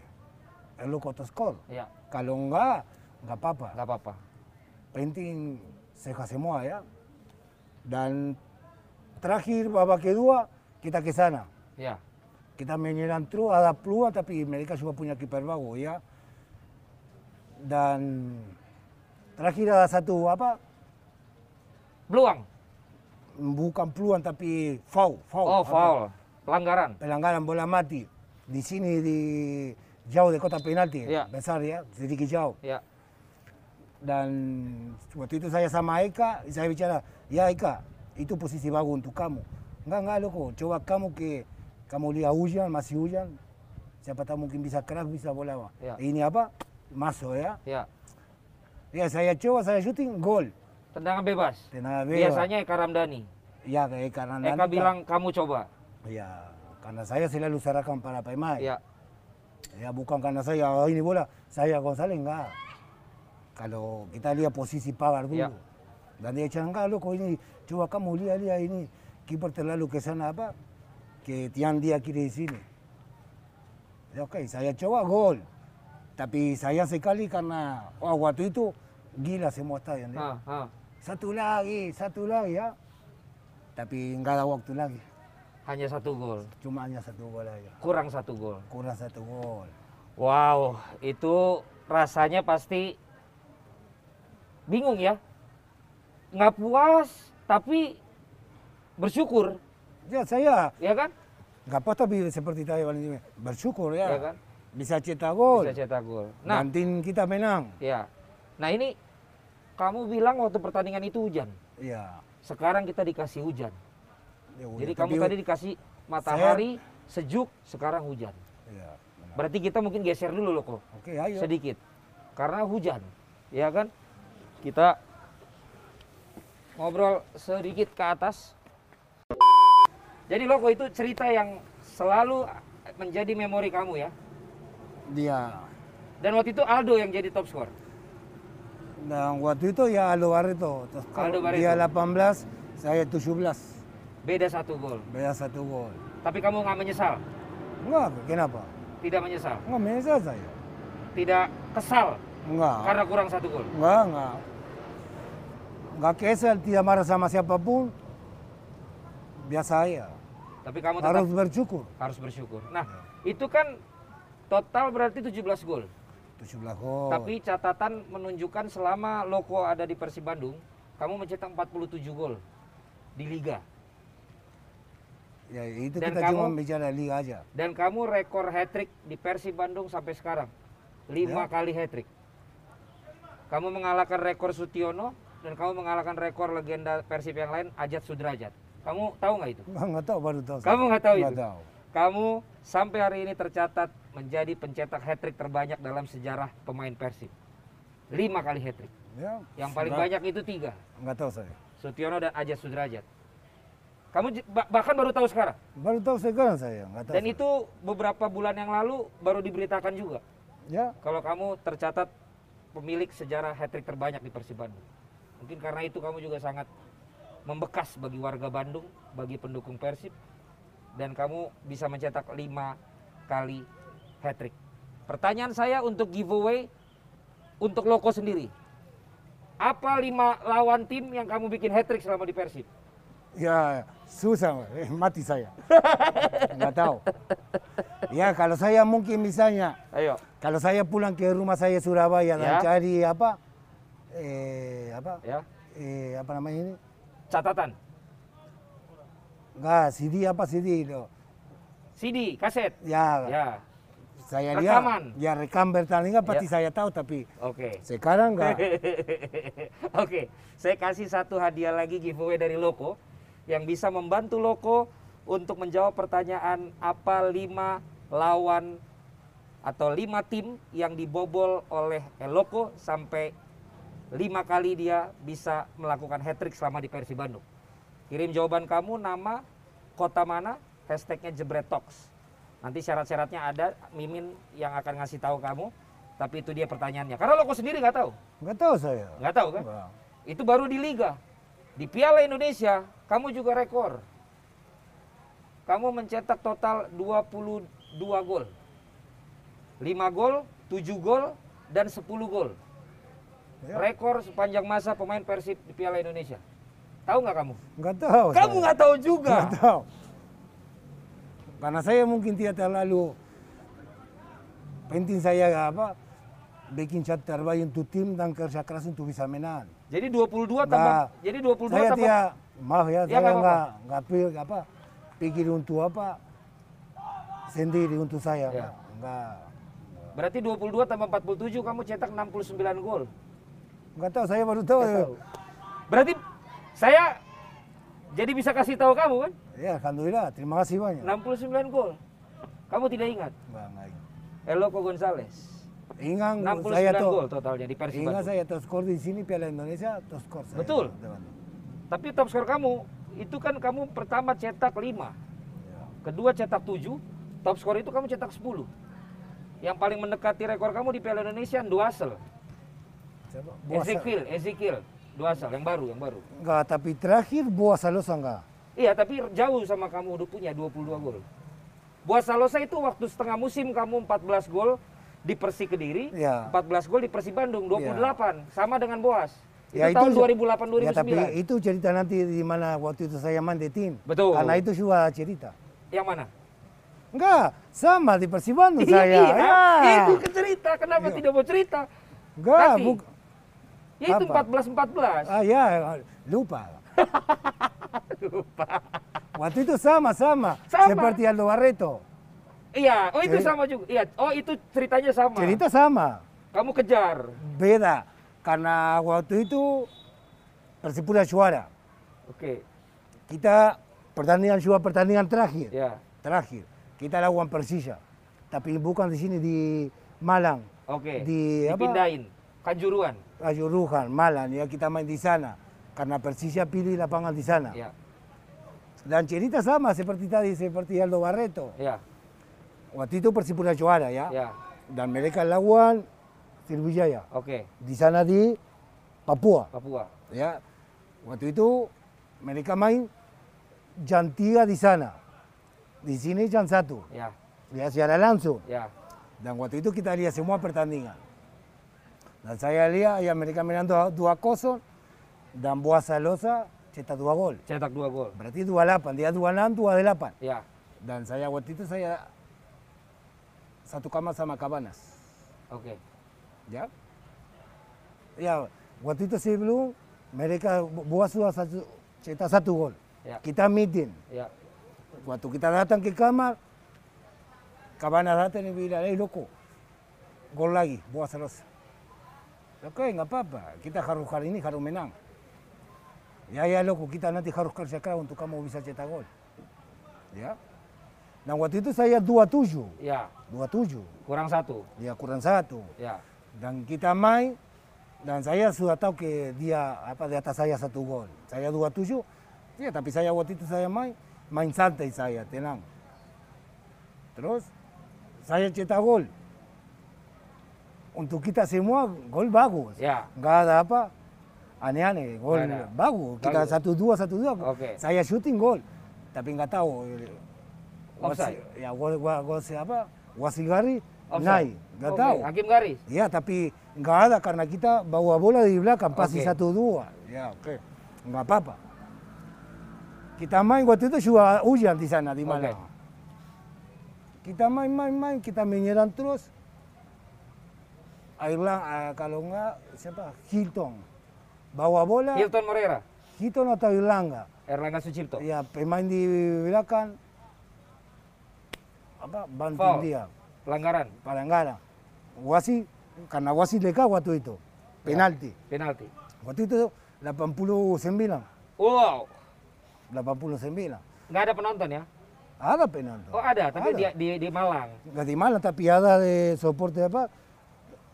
C: el loco toskor.
A: Ya.
C: Kalau enggak enggak apa-apa.
A: Gak apa-apa.
C: Penting sehat semua ya. Dan terakhir babak kedua kita ke sana.
A: Ya.
C: kita menyerang terus ada peluang tapi mereka juga punya kiper bagus ya dan terakhir ada satu apa
A: Peluang.
C: bukan peluang tapi foul, foul.
A: Oh, foul. Pelanggaran.
C: Pelanggaran bola mati. Di sini di jauh di kota penalti,
A: Iya.
C: besar ya, sedikit jauh.
A: Ya.
C: Dan waktu itu saya sama Eka, saya bicara, ya Eka, itu posisi bagus untuk kamu. Enggak, enggak loko, coba kamu ke, kamu lihat hujan, masih hujan, siapa tahu mungkin bisa keras, bisa bola.
A: Iya.
C: Ini apa? Masuk ya.
A: Ya.
C: Ya saya coba, saya syuting, gol.
A: Tendangan bebas.
C: Tenang,
A: Biasanya Eka Ramdhani.
C: ya, Eka, Nandani
A: Eka
C: kan-
A: bilang kamu coba.
C: Ya, karena saya selalu serahkan para pemain.
A: Ya.
C: Ya bukan karena saya "Ah, ini bola, saya González enggak. Kalau kita lihat posisi pagar dulu.
A: Ya.
C: Dan dia cakap enggak loko ini, coba kamu lihat lihat ini kiper terlalu ke sana apa, ke tiang dia kiri di sini. Ya oke, saya coba gol. Tapi saya sekali karena wah, waktu itu gila semua stadion. ya.
A: Ah, ah.
C: Satu lagi, satu lagi ya. ¿ah? Tapi enggak ada waktu lagi,
A: Hanya satu gol.
C: cuma hanya satu gol aja.
A: Kurang satu gol.
C: Kurang satu gol.
A: Wow, itu rasanya pasti bingung ya. Nggak puas, tapi bersyukur,
C: Ya saya
A: ya kan?
C: nggak apa tapi seperti tadi Valentino bersyukur ya,
A: Iya kan?
C: bisa cetak gol
A: Bisa cetak gol. Nah,
C: nanti kita menang
A: ya. Nah ini kamu bilang waktu pertandingan itu hujan.
C: ya,
A: Sekarang kita dikasih hujan.
C: ya udah.
A: Jadi
C: Tapi,
A: kamu tadi dikasih matahari, sejuk, sekarang hujan.
C: ya, benar.
A: Berarti kita mungkin geser dulu loh kok.
C: oke ayo
A: sedikit karena hujan ya kan kita ngobrol sedikit ke atas jadi loko itu cerita yang selalu menjadi memori kamu ya
C: dia
A: dan waktu itu Aldo yang jadi top skor
C: dan waktu itu ya Aldo Barreto Terus
A: Aldo Barreto.
C: dia 18 saya 17
A: beda satu gol
C: beda satu gol
A: tapi kamu nggak menyesal
C: enggak kenapa
A: tidak menyesal
C: enggak menyesal saya
A: tidak kesal
C: enggak
A: karena kurang satu gol
C: enggak enggak enggak kesel tidak marah sama siapapun biasa aja
A: tapi kamu tetap
C: harus
A: harus,
C: bersyukur
A: bersyukur nah itu kan total berarti 17 gol
C: 17 gol
A: Tapi catatan menunjukkan selama Loko ada di Persib Bandung, kamu mencetak 47 gol di liga
C: Ya, itu
A: Dan
C: kita cuma
A: kamu-
C: bicara liga aja.
A: dan kamu rekor hat trick di Persib Bandung sampai sekarang. 5
C: Ya.
A: kali hat trick. Kamu mengalahkan rekor Sutiono dan kamu mengalahkan rekor legenda Persib yang lain Ajat Sudrajat. Kamu tahu nggak itu?
C: Nggak nggak tahu baru tahu. saya.
A: Kamu nggak tahu
C: Nggak
A: itu?
C: tahu.
A: Kamu sampai hari ini tercatat menjadi pencetak hat trick terbanyak dalam sejarah pemain Persib. 5 kali hat trick.
C: Ya,
A: Yang paling
C: nggak-
A: banyak itu tiga.
C: Nggak tahu saya.
A: Sutiono dan Ajat Sudrajat. Kamu j- ba- bahkan baru tahu sekarang.
C: Baru tahu sekarang saya. Nggak tahu.
A: Dan
C: saya.
A: itu beberapa bulan yang lalu baru diberitakan juga
C: Ya,
A: kalau kamu tercatat pemilik sejarah hat-trick terbanyak di Persib Bandung. Mungkin karena itu kamu juga sangat membekas bagi warga Bandung, bagi pendukung Persib dan kamu bisa mencetak 5 kali hat-trick. Pertanyaan saya untuk giveaway untuk Loko sendiri. Apa lima lawan tim yang kamu bikin hat-trick selama di Persib?
C: ya susah. eh, mati saya. Nggak tahu. Ya, kalau saya mungkin misalnya,
A: Ayo.
C: kalau saya pulang ke rumah saya Surabaya
A: Ya.
C: dan cari apa, eh, apa,
A: Ya.
C: eh, apa namanya ini?
A: Catatan.
C: Nggak, CD apa CD loh.
A: CD, kaset.
C: Ya,
A: Ya.
C: saya
A: Rekaman.
C: lihat. Ya, rekam bertandingan pasti saya tahu, tapi
A: Oke.
C: sekarang nggak.
A: Oke, saya kasih satu hadiah lagi giveaway dari Loko yang bisa membantu Loko untuk menjawab pertanyaan apa lima lawan atau lima tim yang dibobol oleh Loko sampai lima kali dia bisa melakukan hat trick selama di Persib Bandung. Kirim jawaban kamu nama kota mana hashtagnya Jebretox. Nanti syarat-syaratnya ada Mimin yang akan ngasih tahu kamu. Tapi itu dia pertanyaannya. Karena Loko sendiri nggak tahu.
C: Nggak tahu saya.
A: Nggak tahu kan?
C: Nggak.
A: Itu baru di Liga. Di Piala Indonesia, kamu juga rekor. Kamu mencetak total 22 gol. 5 gol, 7 gol, dan 10 gol.
C: Ya.
A: Rekor sepanjang masa pemain Persib di Piala Indonesia. Tahu nggak kamu?
C: Nggak tahu.
A: Kamu
C: Oh, saya.
A: nggak tahu juga.
C: Nggak tahu. Karena saya mungkin tidak terlalu penting saya apa bikin cat terbaik untuk tim dan kerja keras untuk bisa menang.
A: Jadi 22 tambah
C: Nah,
A: jadi 22
C: saya
A: tambah
C: tidak maaf ya,
A: Ya,
C: saya
A: nggak
C: nggak
A: apa-apa.
C: nggak pikir apa pikir untuk apa sendiri untuk saya
A: Ya.
C: nggak nggak
A: berarti 22 tambah 47 kamu cetak 69 gol.
C: nggak tahu saya baru tahu,
A: Berarti saya jadi bisa kasih tahu kamu kan
C: ya alhamdulillah terima kasih banyak
A: 69 gol. Kamu tidak ingat
C: Nggak, nggak.
A: Eloko Gonzales.
C: ingat
A: 69
C: saya tuh
A: gol totalnya di Persib.
C: ingat
A: Bandung.
C: saya tuh skor di sini Piala Indonesia tuh skor saya
A: Betul.
C: di Bandung.
A: Tapi top skor kamu itu kan kamu pertama cetak 5. Kedua cetak 7, top skor itu kamu cetak 10. Yang paling mendekati rekor kamu di Piala Indonesia Duasel.
C: Siapa? Boas-
A: Ezekiel, Ezekiel Duasel yang baru, yang baru.
C: nggak tapi terakhir buah salosa nggak
A: Iya, tapi jauh sama kamu udah punya 22 gol. Buat Salosa itu waktu setengah musim kamu 14 gol di Persi Kediri,
C: Iya.
A: 14 gol di Persi Bandung, 28 sama dengan Boas. Itu
C: Ya, itu
A: tahun
C: se-
A: 2008 2009.
C: ya tapi itu cerita nanti di mana waktu itu saya main di tim
A: Betul.
C: karena itu juga cerita
A: Yang mana?
C: Enggak, sama di Persib Bandung saya. Iya.
A: Iya,
C: Ya.
A: itu ke cerita. Kenapa tidak mau cerita?
C: Enggak,
A: Tapi-
C: buk-
A: Ya itu
C: Apa?
A: 14 14.
C: ah, ya, lupa. lupa. Waktu itu sama-sama,
A: Sama.
C: seperti Aldo Barreto.
A: Iya, oh itu
C: Jadi-
A: sama juga. Iya, oh itu ceritanya sama.
C: Cerita sama,
A: Kamu kejar.
C: beda. Karena waktu itu Persipura juara.
A: Oke.
C: Kita pertandingan juara pertandingan terakhir.
A: Ya.
C: Terakhir. Kita lawan Persija. Tapi bukan di sini di Malang.
A: Oke.
C: Di apa?
A: Dipindahin. Kanjuruan.
C: Ayuruhan, Malang ya kita main di sana. Karena Persija pilih lapangan di sana.
A: Iya.
C: Dan cerita sama seperti tadi, seperti Aldo Barreto.
A: Iya.
C: Waktu itu Persipura juara ya.
A: Iya.
C: Dan mereka lawan Sriwijaya.
A: Oke.
C: Di sana di Papua.
A: Papua.
C: Ya. Waktu itu mereka main jam 3 di sana. Di sini jam 1.
A: Ya.
C: Ya secara langsung.
A: Ya.
C: Dan waktu itu kita lihat semua pertandingan. Dan saya lihat ya mereka menang 2-0. Dan Boa Salosa cetak 2 gol.
A: Cetak dua gol.
C: Berarti 28. Dia 26, 28.
A: Ya.
C: Dan saya waktu itu saya satu kamar sama Cabanas,
A: Oke.
C: ya. Ya, waktu itu sebelum mereka bu- buat sudah satu cetak satu gol.
A: Ya.
C: Kita meeting.
A: Ya.
C: Waktu kita datang ke kamar, Cabanas datang dan bilang, eh loko, gol lagi, buat terus. Oke, nggak apa-apa. Kita harus kali ini harus menang. Ya, ya loko, kita nanti harus kerja keras untuk kamu bisa cetak gol. Ya. Nah, waktu itu saya 27.
A: Ya.
C: 27
A: Kurang satu.
C: dia kurang satu
A: Ya.
C: dan kita main dan saya sudah tahu ke dia apa di atas saya satu gol saya 27 ya tapi saya waktu itu saya main main santai saya tenang terus saya cetak gol untuk kita semua gol bagus
A: Ya.
C: nggak ada apa aneh-aneh gol
A: Nggak ada.
C: bagus kita
A: Bagus.
C: satu dua satu dua
A: Oke.
C: saya syuting gol tapi nggak tahu eh,
A: Offside.
C: wasi- ya gol gol gol siapa wasigari
A: Offside.
C: naik nggak
A: Oke,
C: tahu
A: Hakim garis.
C: Ya, tapi nggak ada karena kita bawa bola di belakang, pasti
A: Oke.
C: satu dua. Ya, oke. Nggak apa-apa. Kita main waktu itu juga hujan di sana di
A: Oke.
C: Malang. Kita main main main, kita menyerang terus. Airlang eh, kalau nggak siapa Hilton bawa bola
A: Hilton Moreira.
C: Hilton atau Irlanga
A: Erlangga Sucipto.
C: ya pemain di belakang apa banting
A: Foul.
C: dia
A: Pelanggaran.
C: Palangara. Wasi, karena Wasi leka waktu itu. Penalti.
A: Penalti.
C: Waktu itu 89.
A: Wow.
C: 89.
A: Nggak ada penonton ya?
C: Ada penalti.
A: Oh ada, tapi di, di, di Malang.
C: Nggak di mana, tapi ada de soporte apa.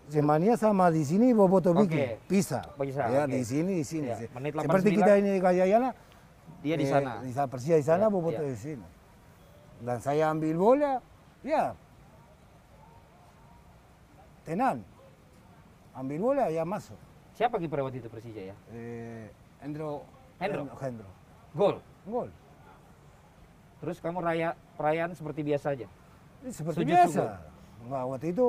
C: Semania sama di sini Boboto
A: Oke.
C: Biki. Pisa.
A: Pisah,
C: Ya,
A: oke.
C: di sini, di sini.
A: Ya, menit
C: Seperti
A: 89.
C: kita ini di Gajayana.
A: Dia di
C: eh,
A: sana.
C: Di sana, Persia di
A: Ya,
C: sana, Boboto
A: ya.
C: di sini. Dan saya ambil bola, ya. Tenan. Ambil bola, ya masuk.
A: Siapa kiper waktu itu Persija ya?
C: Eh, Hendro.
A: Hendro.
C: Hendro.
A: Gol.
C: Gol.
A: Terus kamu raya perayaan seperti biasa aja.
C: Eh, Seperti
A: Sujud
C: biasa.
A: syukur.
C: Nah, waktu itu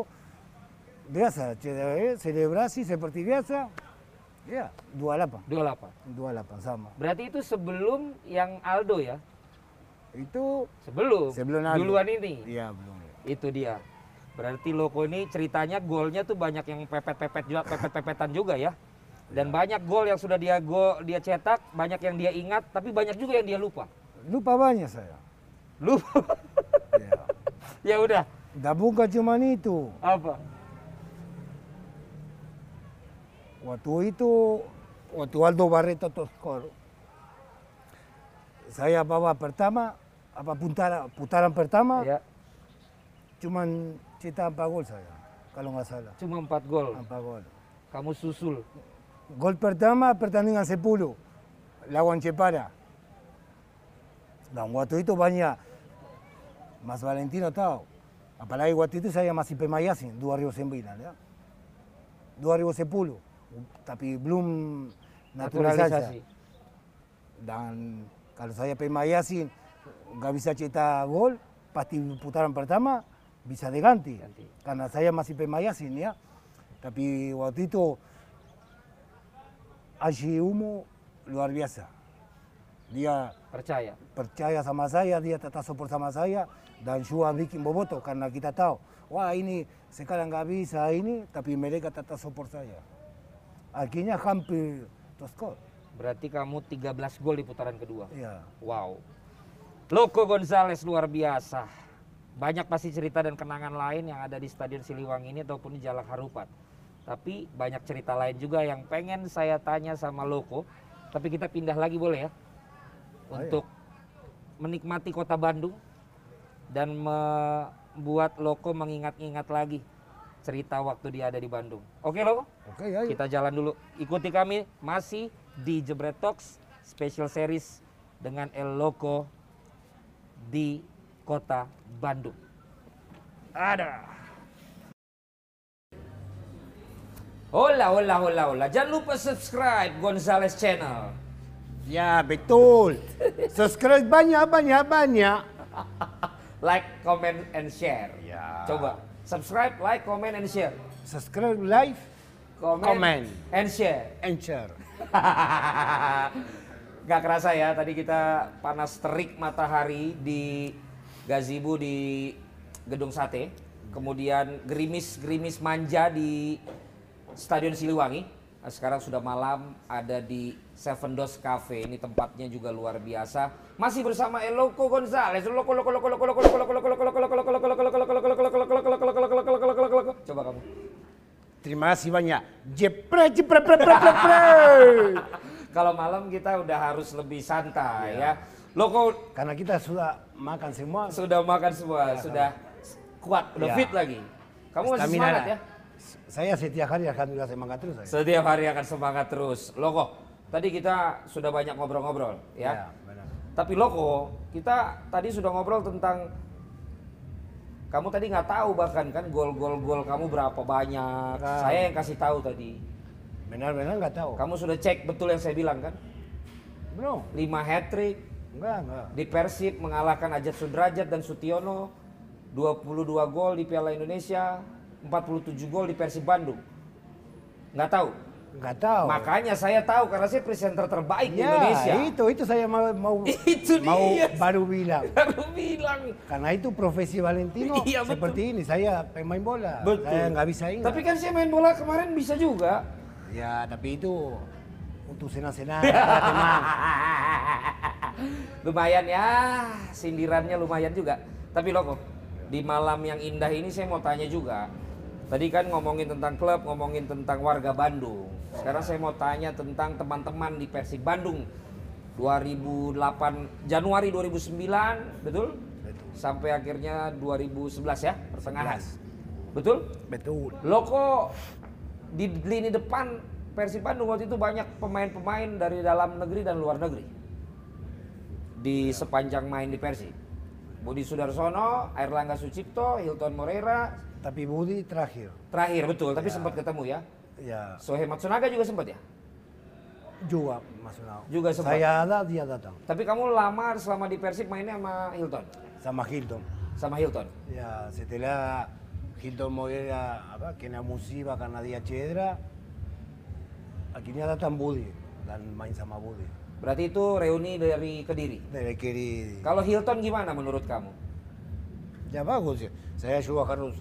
C: biasa. ce- eh, Selebrasi seperti biasa. Ya, 28.
A: 28.
C: 28 sama.
A: Berarti itu sebelum yang Aldo ya?
C: Itu
A: Sebelum.
C: sebelum Aldo.
A: Duluan ini.
C: Iya, belum.
A: Itu dia.
B: Berarti Loko ini ceritanya golnya tuh banyak yang pepet-pepet juga, pepet-pepetan juga ya. Dan banyak gol yang sudah dia gol, dia cetak, banyak yang dia ingat, tapi banyak juga yang dia lupa.
C: Lupa banyak saya.
B: Lupa.
C: Ya.
B: ya udah,
C: Dan bukan cuma itu.
B: apa?
C: Waktu itu, waktu Aldo Barreto Toscor, saya bawa pertama, apa putaran, putaran pertama,
B: Ya,
C: cuman cetak empat gol saya, kalau nggak salah.
B: cuma empat gol.
C: Empat gol.
B: Kamu susul.
C: Gol pertama pertandingan 10 lawan Cepara. Dan waktu itu banyak Mas Valentino tahu. Apalagi waktu itu saya masih pemayasin 2009 ya. 2010 tapi belum naturalisasi.
B: Naturalisasi.
C: Dan kalau saya pemayasin nggak bisa cetak gol, pasti putaran pertama bisa diganti.
B: Ganti.
C: Karena saya masih pemayasin ya. Tapi waktu itu Aji Umo luar biasa. Dia
B: Percaya.
C: percaya sama saya, dia tetap support sama saya dan juga bikin boboto karena kita tahu, wah ini sekarang nggak bisa ini, tapi mereka tetap support saya. Akhirnya hampir toskor.
B: Berarti kamu 13 gol di putaran kedua.
C: Ya.
B: Wow. Loko Gonzales luar biasa. Banyak pasti cerita dan kenangan lain yang ada di Stadion Siliwangi ini ataupun di Jalak Harupat. Tapi banyak cerita lain juga yang pengen saya tanya sama Loko. Tapi kita pindah lagi boleh ya? Untuk menikmati kota Bandung dan membuat Loko mengingat-ingat lagi cerita waktu dia ada di Bandung. Oke Loko?
C: Oke, ayo.
B: Kita jalan dulu. Ikuti kami masih di Jebret Talks Special Series dengan El Loco di kota Bandung. Ada. Hola, hola, hola, hola. Jangan lupa subscribe Gonzales Channel.
C: Ya, betul. Subscribe banyak, banyak, banyak.
B: Like, comment, and share.
C: Ya.
B: Coba. Subscribe, like, comment, and share.
C: Subscribe live
B: Comment,
C: Comment.
B: and share.
C: and share.
B: Gak kerasa ya, tadi kita panas terik matahari di gazebo di Gedung Sate. Kemudian gerimis-gerimis manja di Stadion Siliwangi. Nah, Sekarang sudah malam, ada di Seven Doors Cafe. Ini tempatnya juga luar biasa. Masih bersama Eloko Gonzales. Loko, loko, loko, loko, loko, loko, loko, loko, loko, loko, loko, loko, loko, loko, loko, loko, loko, loko, loko, loko, loko, loko, loko, loko. Coba kamu.
C: Terima kasih banyak. Jepret, jepret, jepret, jepret, jepret.
B: Kalau malam kita udah harus lebih santai ya. Loko
C: Karena kita sudah makan semua.
B: sudah makan semua, sudah kuat, udah
C: Ya.
B: fit lagi. Kamu masih
C: stamina
B: semangat
C: lah.
B: ya?
C: Saya setiap hari alhamdulillah semangat terus saya.
B: Setiap hari akan semangat terus. Loko, tadi kita sudah banyak ngobrol-ngobrol ya.
C: Ya, benar.
B: Tapi Loko, kita tadi sudah ngobrol tentang kamu tadi nggak tahu bahkan kan gol-gol-gol kamu berapa banyak.
C: Nggak.
B: Saya yang kasih tahu tadi.
C: Benar-benar nggak tahu.
B: Kamu sudah cek betul yang saya bilang kan?
C: Belum.
B: 5 hat trick
C: Enggak, enggak.
B: di Persib mengalahkan Ajat Sudrajat dan Sutiono 22 gol di Piala Indonesia 47 gol di Persib Bandung nggak tahu
C: Enggak tahu.
B: makanya saya tahu karena saya presenter terbaik di
C: Oh. ya,
B: Indonesia
C: itu itu saya mau mau
B: Itu
C: mau
B: dia.
C: baru bilang.
B: baru bilang
C: Karena itu profesi Valentino
B: Iya, betul.
C: seperti ini saya pemain bola. Saya nggak bisa ingat.
B: tapi kan saya main bola kemarin bisa juga
C: Ya, tapi itu untuk senang-senang. para teman.
B: lumayan ya sindirannya lumayan juga tapi lo kok di malam yang indah ini saya mau tanya juga tadi kan ngomongin tentang klub ngomongin tentang warga Bandung sekarang saya mau tanya tentang teman-teman di Persib Bandung 2008 Januari 2009 betul sampai akhirnya 2011 ya pertengahan betul
C: Betul.
B: Loko di lini depan Persib Bandung waktu itu banyak pemain-pemain dari dalam negeri dan luar negeri di sepanjang main di Persib. Budi Sudarsono, Airlangga Sucipto, Hilton Moreira,
C: Tapi Budi terakhir.
B: terakhir betul, tapi sempat ketemu ya.
C: Ya,
B: Sohe Matsunaga juga sempat ya.
C: juga maksudnya.
B: Juga sempat.
C: Saya ada, dia datang.
B: Tapi kamu lama selama di Persib mainnya sama Hilton,
C: Sama Hilton.
B: sama Hilton.
C: Ya, setelah Hilton Moreira apa, kena musibah karena dia cedera, akhirnya datang Budi dan main sama Budi.
B: Berarti itu reuni dari Kediri.
C: Dari kiri,
B: Kalau Hilton gimana menurut kamu?
C: ya bagus. Saya juga harus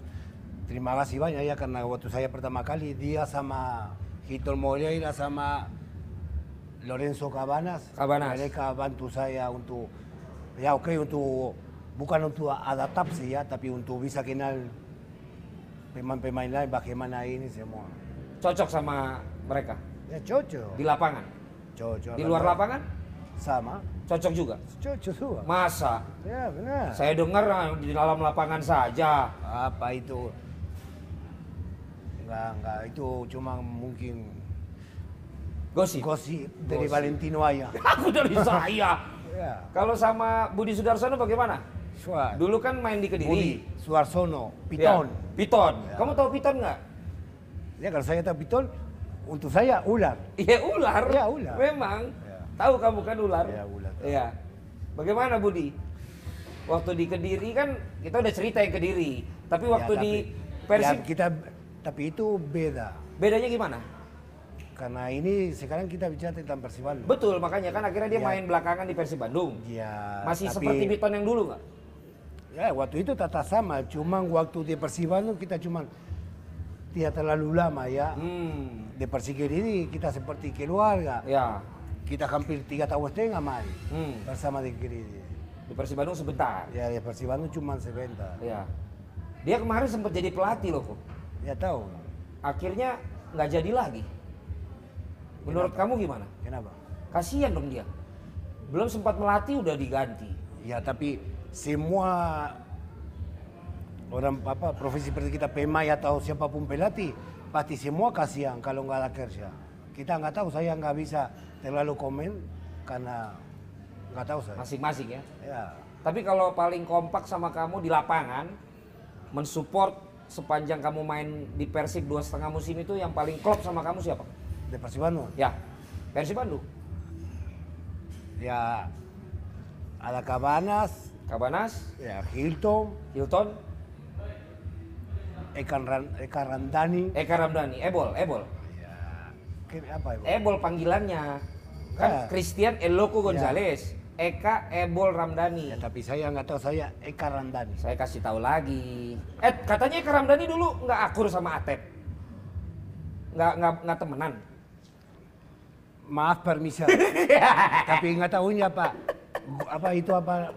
C: terima kasih banyak ya karena waktu saya pertama kali dia sama Hitor Moreira sama Lorenzo Cabanas.
E: Cabanas.
C: Mereka bantu saya untuk ya oke untuk bukan untuk adaptasi ya tapi untuk bisa kenal pemain-pemain lain bagaimana ini semua.
B: Cocok sama mereka
C: Ya cocok.
B: di lapangan.
C: Cocok.
B: Di luar lapangan
C: Sama.
B: cocok juga.
C: Cocok semua.
B: Masa
C: Ya benar.
B: saya dengar ah, di dalam lapangan saja.
C: apa itu enggak enggak itu cuma mungkin
B: Gosip.
C: gosip dari Valentino aja
B: Aku dari saya.
C: ya
B: Kalau sama Budi Sudarsono bagaimana?
C: Suar
B: Dulu kan main di Kediri.
C: Budi Suarsono Piton
B: Ya, Piton. Kamu tahu Piton nggak?
C: ya kalau saya tahu Piton untuk saya ular
B: Iya ular.
C: Iya, ular.
B: Memang.
C: Iya.
B: Tahu kamu kan ular?
C: Iya, ular tahu.
B: Iya. Bagaimana Budi? Waktu di Kediri kan kita udah cerita yang Kediri, tapi waktu
C: Ya,
B: di
C: tapi-
B: Persib
C: ya, kita tapi itu beda
B: bedanya gimana?
C: karena ini sekarang kita bicara tentang Persibandung
B: Betul, makanya kan akhirnya dia
C: Iya.
B: main belakangan di Persib Bandung.
C: ya
B: Masih
C: tapi-
B: seperti Piton yang dulu nggak?
C: Ya, waktu itu tata sama, cuman waktu di Persibandung kita cuman tidak terlalu lama ya.
B: Hmm.
C: Di Persikir ini kita seperti keluarga.
B: Ya.
C: Kita hampir tiga tahun setengah main
B: Hmm.
C: bersama di Kiridi.
B: Di Persib Bandung sebentar.
C: Ya di Persibandung cuman sebentar.
B: Iya. Dia kemarin sempat jadi pelatih loh kok.
C: Ya tahu
B: Akhirnya nggak jadi lagi. Menurut kamu gimana?
C: kenapa?
B: Kasihan dong dia. Belum sempat melatih udah diganti.
C: Ya tapi semua orang apa profesi seperti kita pemain atau siapapun pelatih pasti semua kasihan kalau nggak ada kerja. Kita nggak tahu saya nggak bisa terlalu komen karena nggak tahu saya.
B: Masing-masing ya.
C: Ya,
B: Tapi kalau paling kompak sama kamu di lapangan, mensupport sepanjang kamu main di Persib dua setengah musim itu yang paling klop sama kamu siapa?
C: de Persibandung.
B: Ya, Persib Bandung.
C: Ya, ada Cabanas,
B: Kabanas,
C: ya Hilton,
B: Hilton,
C: Ekan, Ran- Ekan Randani.
B: Eka Ramdhani, Ebol, Ebol.
C: Ya, ke- apa ya?
B: Ebol Eh, panggilannya.
C: Ya.
B: Kan Christian Eloko Gonzales, Eka Ebol Ramdhani.
C: Iya. Ya, tapi saya nggak tahu saya Ekan Randani.
B: Saya kasih tahu lagi. Eh, katanya Eka Ramdhani dulu nggak akur sama Atep. Nggak nggak nggak temenan.
C: Maaf permisi, tapi nggak tahu ini apa. Apa itu apa?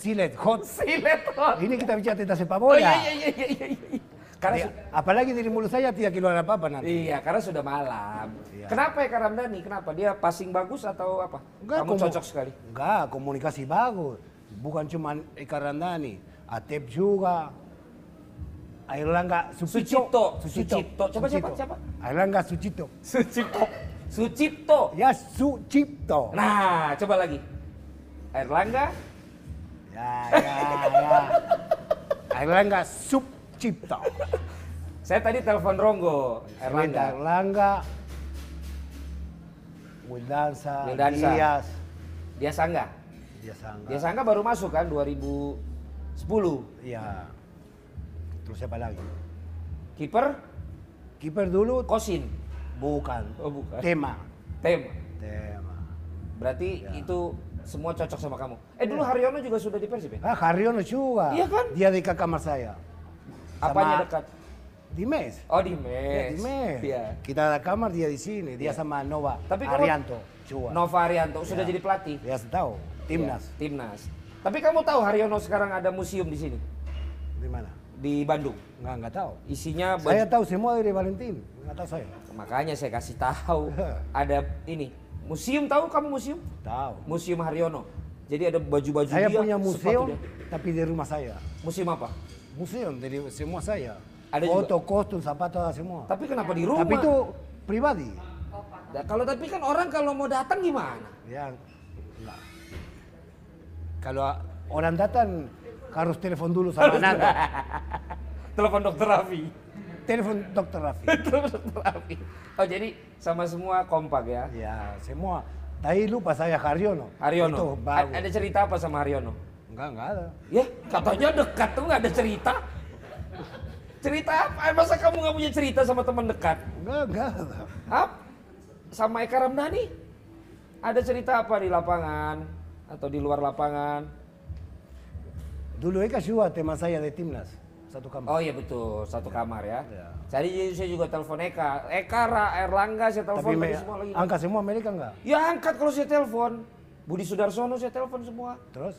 C: Silet, hot.
B: Silet oh.
C: Ini kita bicara tentang sepak
B: Oh
C: bola.
B: iya iya iya iya iya, iya. Karena
C: Ya,
B: su-
C: apalagi dari mulut saya tidak keluar apa-apa nanti.
B: iya karena sudah malam.
C: Iya.
B: Kenapa ya Ramdhani? Kenapa dia passing bagus atau apa? Kamu
C: komu-
B: cocok sekali.
C: Enggak, komunikasi bagus. Bukan cuma Eka Randani, Atep juga. Airlangga Sucipto.
B: Sucipto. Sucipto. Coba siapa, siapa?
C: Airlangga Sucipto.
B: Sucipto. Sucipto.
C: Ya Sucipto.
B: Nah, coba lagi. Erlangga.
C: Ya, ya, ya. Airlangga Sucipto.
B: Saya tadi telepon Ronggo. Erlangga.
C: Airlangga. Wildansa,
B: Wildansa.
C: Dias.
B: Dia sangga.
C: Dias Angga.
B: Dia sangga baru masuk kan 2010.
C: Ya. Terus siapa lagi?
B: Kiper
C: Kiper dulu
B: Kosin.
C: bukan.
B: Oh, bukan.
C: Tema.
B: Tem.
C: Tema.
B: Berarti
C: Ya.
B: itu semua cocok sama kamu. Eh
C: Iya.
B: dulu Haryono juga sudah di Persib ya?
C: Ah, Haryono juga.
B: Iya kan?
C: Dia dekat kamar saya.
B: Apanya
C: Sama-
B: dekat?
C: Di mes.
B: Oh di mes.
C: Dia Ya, di mes.
B: Iya.
C: Kita ada kamar dia di sini. Dia sama Nova.
B: Tapi kamu-
C: Arianto. Juga.
B: Nova Arianto sudah jadi pelatih.
C: Dia tahu. Iya. Timnas.
B: Iya, Timnas. Tapi kamu tahu Haryono sekarang ada museum di sini
C: Di mana?
B: di Bandung.
C: Enggak, enggak tahu.
B: Isinya baju-
C: Saya tahu semua dari Valentino. Enggak tahu saya.
B: makanya saya kasih tahu ada ini museum tahu kamu museum?
C: Tahu.
B: Museum Haryono. Jadi ada baju-baju
C: Saya
B: dia,
C: punya
B: sepatu
C: museum,
B: dia.
C: tapi di rumah saya.
B: Museum apa?
C: Museum dari semua saya.
B: Ada
C: Foto, kostum, sepatu, ada semua.
B: Tapi kenapa di rumah?
C: Tapi itu pribadi.
B: Nah, kalau tapi kan orang kalau mau datang gimana?
C: Ya, enggak. Kalau orang datang harus telepon dulu sama Nando.
B: Telepon dokter Raffi.
C: telepon dokter Raffi.
B: Telepon dokter Raffi. Oh jadi sama semua kompak ya.
C: ya, semua. Tadi lupa saya Haryono.
B: Haryono.
C: Itu
B: A-
C: baru.
B: ada cerita apa sama Haryono?
C: Enggak, enggak ada.
B: Ya katanya dekat tuh nggak ada cerita. Cerita apa? Eh, Masa kamu nggak punya cerita sama teman dekat?
C: Enggak, enggak ada.
B: Ap? Sama Eka Ramdhani? Ada cerita apa di lapangan atau di luar lapangan?
C: Dulu Eka juga teman saya di timnas. satu kamar.
B: Oh iya betul, satu kamar ya.
C: Iya.
B: Tadi saya juga telepon Eka. Eka, Ra, Erlangga saya telepon
C: Tapi
B: tadi
C: me-
B: semua lagi.
C: angka semua mereka enggak?
B: Ya angkat kalau saya telepon. Budi Sudarsono saya telepon semua.
C: Terus?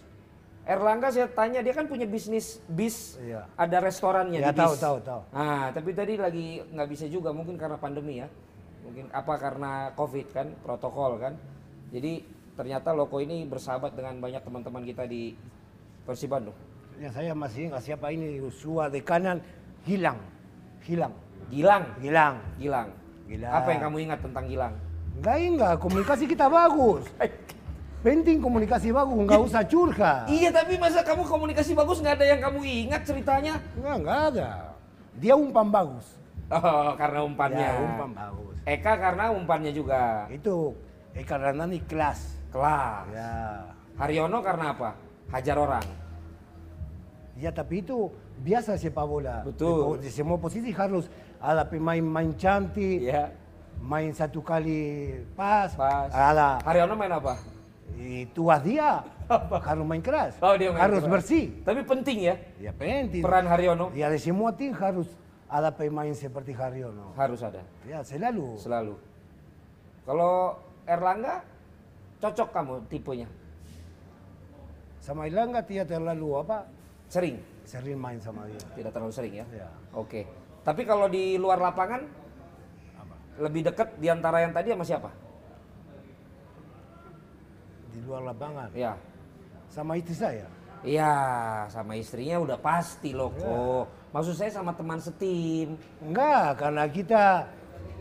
B: Erlangga saya tanya dia kan punya bisnis bis,
C: Iya.
B: ada restorannya
C: Ya,
B: di
C: tahu,
B: bis.
C: tahu, tahu.
B: Nah, tapi tadi lagi nggak bisa juga mungkin karena pandemi ya. Mungkin apa karena Covid kan, protokol kan. Jadi ternyata Loko ini bersahabat dengan banyak teman-teman kita di Persib Bandung.
C: Ya saya masih ingat siapa ini Yosua de kanan hilang. Hilang.
B: Gilang,
C: Hilang.
B: Gilang.
C: Gilang.
B: Apa yang kamu ingat tentang Gilang?
C: Enggak enggak, komunikasi kita bagus. Penting komunikasi bagus, enggak usah curhat.
B: Iya, tapi masa kamu komunikasi bagus nggak ada yang kamu ingat ceritanya?
C: Enggak, enggak ada. Dia umpan bagus.
B: Oh, karena umpannya.
C: Ya, umpan bagus.
B: Eka karena umpannya juga.
C: Itu Eka Ramdhani kelas.
B: Kelas.
C: Ya.
B: Haryono karena apa? Hajar orang.
C: Ya tapi itu biasa sepak bola.
B: Betul.
C: Di semua posisi harus ada pemain-main cantik,
B: Iya.
C: main satu kali pas,
B: Pas.
C: ada
B: Haryono main apa?
C: tuas dia harus main keras,
B: Oh, dia main
C: harus
B: keras.
C: bersih.
B: Tapi penting ya
C: Ya penting.
B: peran Haryono.
C: Ya di semua tim harus ada pemain seperti Haryono.
B: Harus ada
C: Ya selalu.
B: selalu. Kalau Erlangga cocok kamu tipenya.
C: Sama Ilanga dia terlalu apa?
B: Sering,
C: Sering main sama dia.
B: tidak terlalu sering ya.
C: Ya.
B: Oke. Tapi kalau di luar lapangan lebih dekat di antara yang tadi sama siapa?
C: Di luar lapangan.
B: Ya.
C: Sama istri saya.
B: Iya, sama istrinya udah pasti loko. Maksud saya sama teman setim.
C: Enggak, karena kita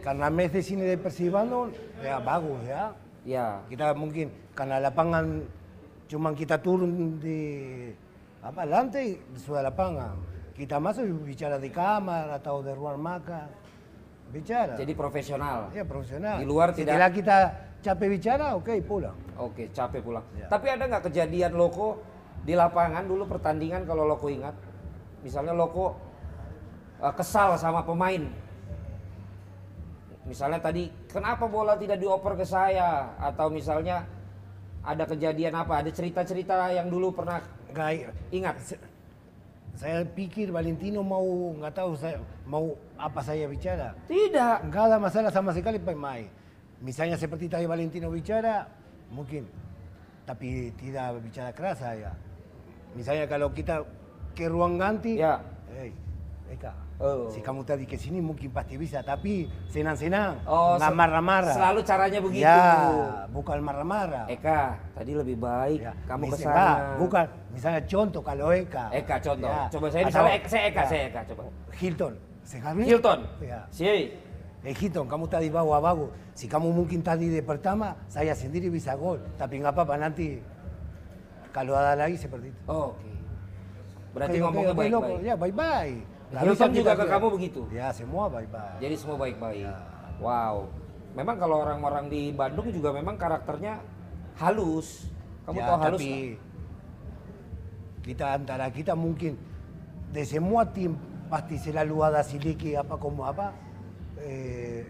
C: karena Messi sini de Persib Bandung ya bagus ya.
B: Ya.
C: Kita mungkin karena lapangan cuman kita turun di apa lantai sudah lapangan. Kita masuk bicara di kamar atau di ruang makan. Bicara.
B: Jadi profesional.
C: ya profesional.
B: Di luar tidak-
C: Setelah kita capek bicara, oke pulang.
B: Oke, capek pulang.
C: Ya.
B: Tapi ada nggak kejadian loko di lapangan dulu pertandingan kalau loko ingat? Misalnya loko eh, kesal sama pemain. Misalnya tadi kenapa bola tidak dioper ke saya atau misalnya ada kejadian apa? Ada cerita-cerita yang dulu pernah
C: Enggak,
B: ingat?
C: saya pikir Valentino mau nggak tahu saya mau apa saya bicara.
B: Tidak.
C: Nggak ada masalah sama sekali pemain. Misalnya seperti tadi Valentino bicara, mungkin. Tapi tidak bicara keras saya. Misalnya kalau kita ke ruang ganti,
B: Ya.
C: "Hey, Eka,
B: Oh.
C: si kamu tadi ke sini mungkin pasti bisa. Tapi senang-senang,
B: Oh,
C: nggak
B: se-
C: marah-marah.
B: Selalu caranya begitu.
C: Ya, bukan marah-marah.
B: Eka, tadi lebih baik
C: Ya,
B: kamu ke
C: misalnya,
B: sana.
C: Bukan, misalnya contoh kalau Eka.
B: Eka contoh.
C: Ya.
B: Coba saya
C: Atau-
B: misalnya Eka, saya Eka,
C: ya.
B: saya Eka coba.
C: Hilton. Sekarang
B: Hilton.
C: Ya.
B: Si.
C: Eh Hilton, kamu tadi bawa bagus. Si kamu mungkin tadi di pertama, saya sendiri bisa gol. Tapi nggak apa-apa nanti kalau ada lagi seperti itu.
B: Oh, Oke. Berarti
C: Oke, oke,
B: ngomongnya
C: oke,
B: baik-baik.
C: loco. Ya baik-baik. Nggak
B: Hilton
C: bisa kita
B: juga ke
C: bilang.
B: kamu begitu?
C: Ya semua baik-baik.
B: Jadi semua baik-baik.
C: Ya.
B: Wow. Memang kalau orang-orang di Bandung juga memang karakternya halus. Kamu
C: Ya,
B: tahu halus
C: tapi
B: nggak?
C: kita antara kita mungkin di semua tim pasti selalu ada siliki apa como apa eh,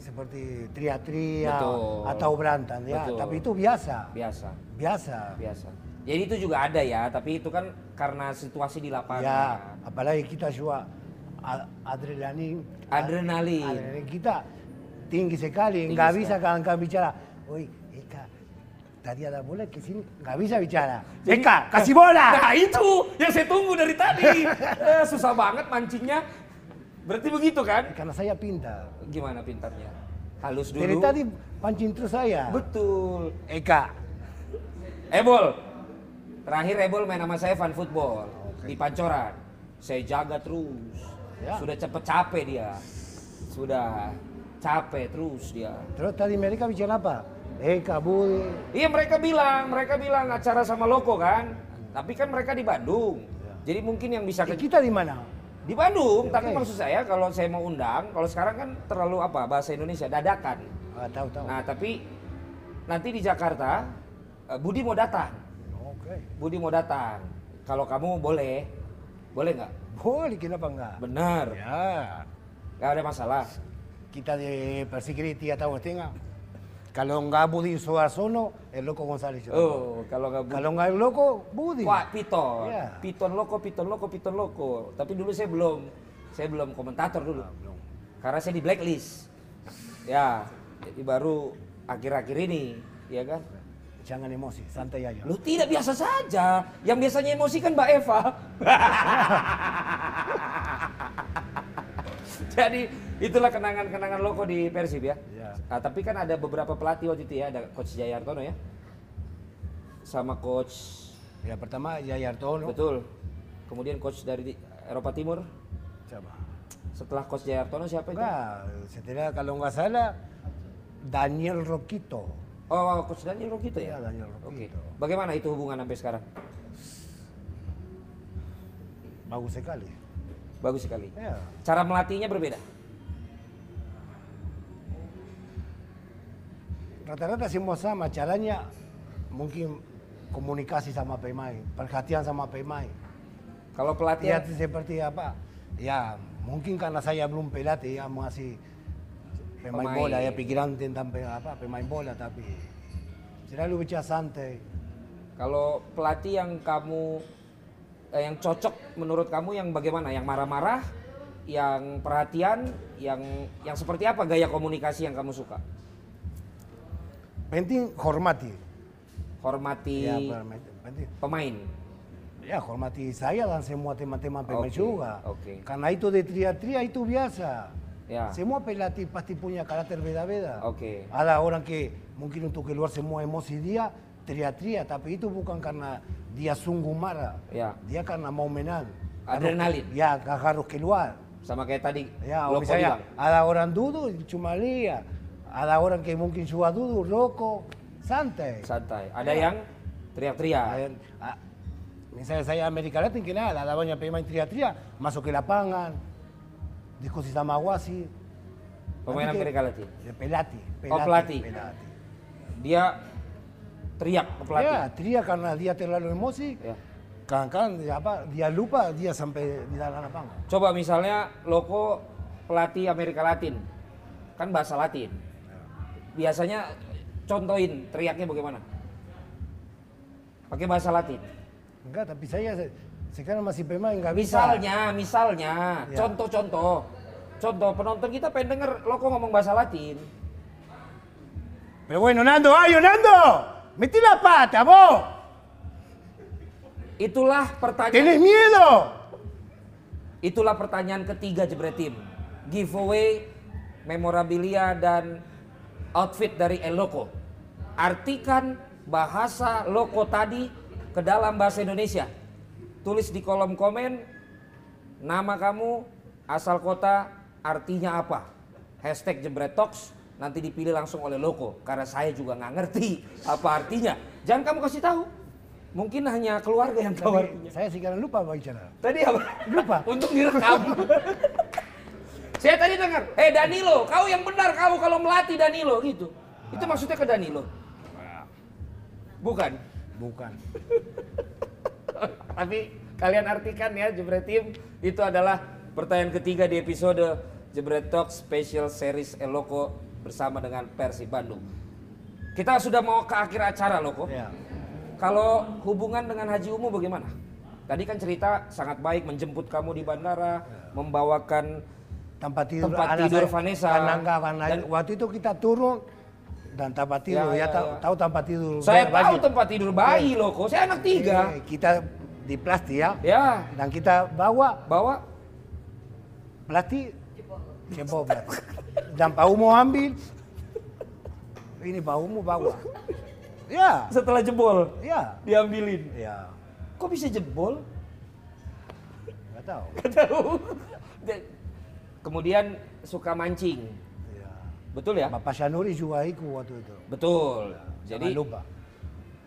C: seperti tria-tria
B: Betul.
C: atau berantem ya
B: Betul.
C: tapi itu Ah, biasa
B: biasa,
C: biasa
B: biasa. Jadi itu juga ada ya, tapi itu kan karena situasi di lapangan.
C: ya apalagi kita juga a- adrenalin
B: Adrenalin.
C: adrenalin kita tinggi sekali
B: Tinggi
C: nggak
B: sekali.
C: bisa kadang-kadang bicara oi Eka tadi ada bola ke sini nggak bisa bicara
B: Jadi-
C: Eka kasih bola
B: Nah itu yang saya tunggu dari tadi. Eh, susah banget mancingnya. Berarti begitu kan?
C: Karena saya pintar.
B: Gimana pintarnya? Halus dulu.
C: Dari tadi pancing terus saya.
B: Betul.
C: Eka.
B: Ebol. Terakhir Ebol main sama saya fun football di Pancoran. Saya jaga terus.
C: Ya.
B: Sudah cepet capek dia. Sudah capek terus dia.
C: Terus tadi mereka bicara apa? Eka, Budi.
B: Iya mereka bilang, mereka bilang acara sama Loko kan. Tapi kan mereka di Bandung. Jadi mungkin yang bisa
C: Eh,
B: ke
C: kita Hmm. Ya. di mana?
B: di Bandung,
C: Oke.
B: tapi maksud saya kalau saya mau undang, kalau sekarang kan terlalu apa bahasa Indonesia dadakan.
C: Ah, tahu tahu.
B: Nah, tapi nanti di Jakarta eh, Budi mau datang.
C: Oke.
B: Budi mau datang. Kalau kamu boleh, boleh nggak?
C: Boleh kenapa enggak?
B: Benar,
C: Ya.
B: nggak ada masalah.
C: ah. Kita di Persikiri tiga tahun setengah. Kalau nggak Budi Suarsono, el loco González.
B: Oh, kalau nggak
C: Kalau nggak el loco, Budi.
B: Wah, Piton.
C: Iya.
B: Piton loko, Piton loko, Piton loko. Tapi dulu saya belum saya belum komentator dulu. Karena saya di blacklist. Ya, jadi baru akhir-akhir ini, ya kan?
C: Jangan emosi, santai aja.
B: Lu tidak biasa saja. Yang biasanya emosi kan Mbak Eva. Jadi itulah kenangan-kenangan loko di Persib ya.
C: Iya.
B: Ah, tapi kan ada beberapa pelatih waktu itu ya, ada coach Jaya Hartono ya. Sama coach
C: Ya pertama Yaya Artono.
B: Betul. Kemudian coach dari di- Eropa Timur,
C: Coba.
B: setelah coach Jayartono siapa itu?
C: Enggak, setelah kalau nggak salah Daniel Roquito.
B: Oh, coach Daniel Rokito ya?
C: Iya, Daniel
B: Oke.
C: Rokito.
B: Bagaimana itu hubungan sampai sekarang?
C: Bagus sekali.
B: Bagus sekali.
C: Ya.
B: Cara melatihnya berbeda.
C: Rata-rata semua sama, caranya mungkin komunikasi sama pemain, perhatian sama pemain.
B: Kalau pelatih
C: Ya seperti apa? Ya, mungkin karena saya belum pelatih ya masih pemain,
B: Pemain.
C: bola ya pikiran tentang pe- apa pemain bola tapi selalu bicara santai.
B: kalau pelatih yang kamu eh, yang cocok menurut kamu yang bagaimana? Yang marah-marah, yang perhatian, yang yang seperti apa gaya komunikasi yang kamu suka?
C: Penting hormati.
B: Hormati
C: Ya, permen- penting.
B: pemain.
C: Ya, hormati saya dan semua teman-teman pemain
B: Oke,
C: juga.
B: oke.
C: Karena itu de tria-tria itu biasa.
B: Ya.
C: Semua pelatih pasti punya karakter beda-beda.
B: Oke.
C: Ada orang que mungkin untuk keluar semua emosi dia, tria-tria, tapi itu bukan karena dia sungguh marah.
B: Ya.
C: Dia karena mau menang.
B: Adrenalin.
C: Harus- Ya, ka- harus keluar.
B: Sama kayak tadi
C: Ya, o
B: Loko
C: misalnya,
B: bilang.
C: ada orang duduk, cuma lihat. Ada orang que mungkin juga duduk, rokok, santai.
B: santai. Ada yang teriak-teriak.
C: Ayan, ah, misalnya saya Amerika Latin que nada, ada banyak pemain tria-tria, masuk ke lapangan, diskusi sama wasit.
B: Pemain
C: Nanti ke-
B: Amerika Latin.
C: Ya, pelati,
B: Oh, pelatih.
C: pelati.
B: Dia teriak ke pelatih.
C: Ya, tria karena dia terlalu emosi,
B: Ya.
C: kadang-kadang dia, apa, dia lupa dia sampai di dalam lapangan.
B: Coba misalnya Loko pelatih Amerika Latin. Kan bahasa Latin. Biasanya contohin teriaknya bagaimana? Pakai bahasa Latin.
C: Enggak, tapi saya se- sekarang masih pemain, nggak bisa.
B: Misalnya, misalnya,
C: Ya.
B: contoh-contoh. Contoh penonton kita pengen denger Loko ngomong bahasa Latin.
C: Pero bueno, Nando, ayo Nando! Metí la pata, vos!
B: Itulah pertanyaan
C: Tenés miedo!
B: Itulah pertanyaan ketiga Jebretim. Giveaway, memorabilia, dan outfit dari El Loco. Artikan bahasa Loco tadi ke dalam bahasa Indonesia. Tulis di kolom komen, nama kamu, asal kota, artinya apa. Hashtag Jebret Talks, nanti dipilih langsung oleh Loko. Karena saya juga nggak ngerti apa artinya. Jangan kamu kasih tahu. Mungkin hanya keluarga yang tahu artinya.
C: Tapi saya sekarang lupa bicara.
B: Tadi apa?
C: Lupa.
B: Untung direkam. Saya tadi dengar, eh Danilo, kau yang benar kau kalau melatih Danilo gitu. Itu maksudnya ke Danilo. Bukan.
C: Bukan.
B: Tapi kalian artikan ya Jebret Tim, itu adalah pertanyaan ketiga di episode Jebret Talk Special Series Eloko bersama dengan Persib Bandung. Kita sudah mau ke akhir acara loh kok.
C: Ya.
B: Kalau hubungan dengan Haji Umu bagaimana? Tadi kan cerita sangat baik menjemput kamu di bandara, membawakan
C: tempat tidur
B: Tempat tidur Vanessa.
C: karena enggak, karena
B: Dan-
C: waktu itu kita turun dan tempat tidur
B: Ya,
C: ya,
B: ya,
C: tahu,
B: ya.
C: tahu tempat tidur
B: saya
C: banyak.
B: tahu tempat tidur bayi
C: Iya.
B: loh kok. Saya anak tiga.
C: Eh, kita di plastik ya
B: Ya,
C: ¿ah? dan kita bawa
B: bawa
C: plastik jempol plastik dan Pak Umo ambil ini Pak Umo bawa ya
B: setelah jebol
C: ya
B: diambilin.
C: ya
B: Kok bisa jebol?
C: nggak tahu
B: Nggak tahu. Dan- Kemudian suka mancing.
C: ya.
B: Betul ya?
C: Bapak Syanuri juga ikut waktu itu
B: Betul.
C: Jangan
B: Jadi
C: lupa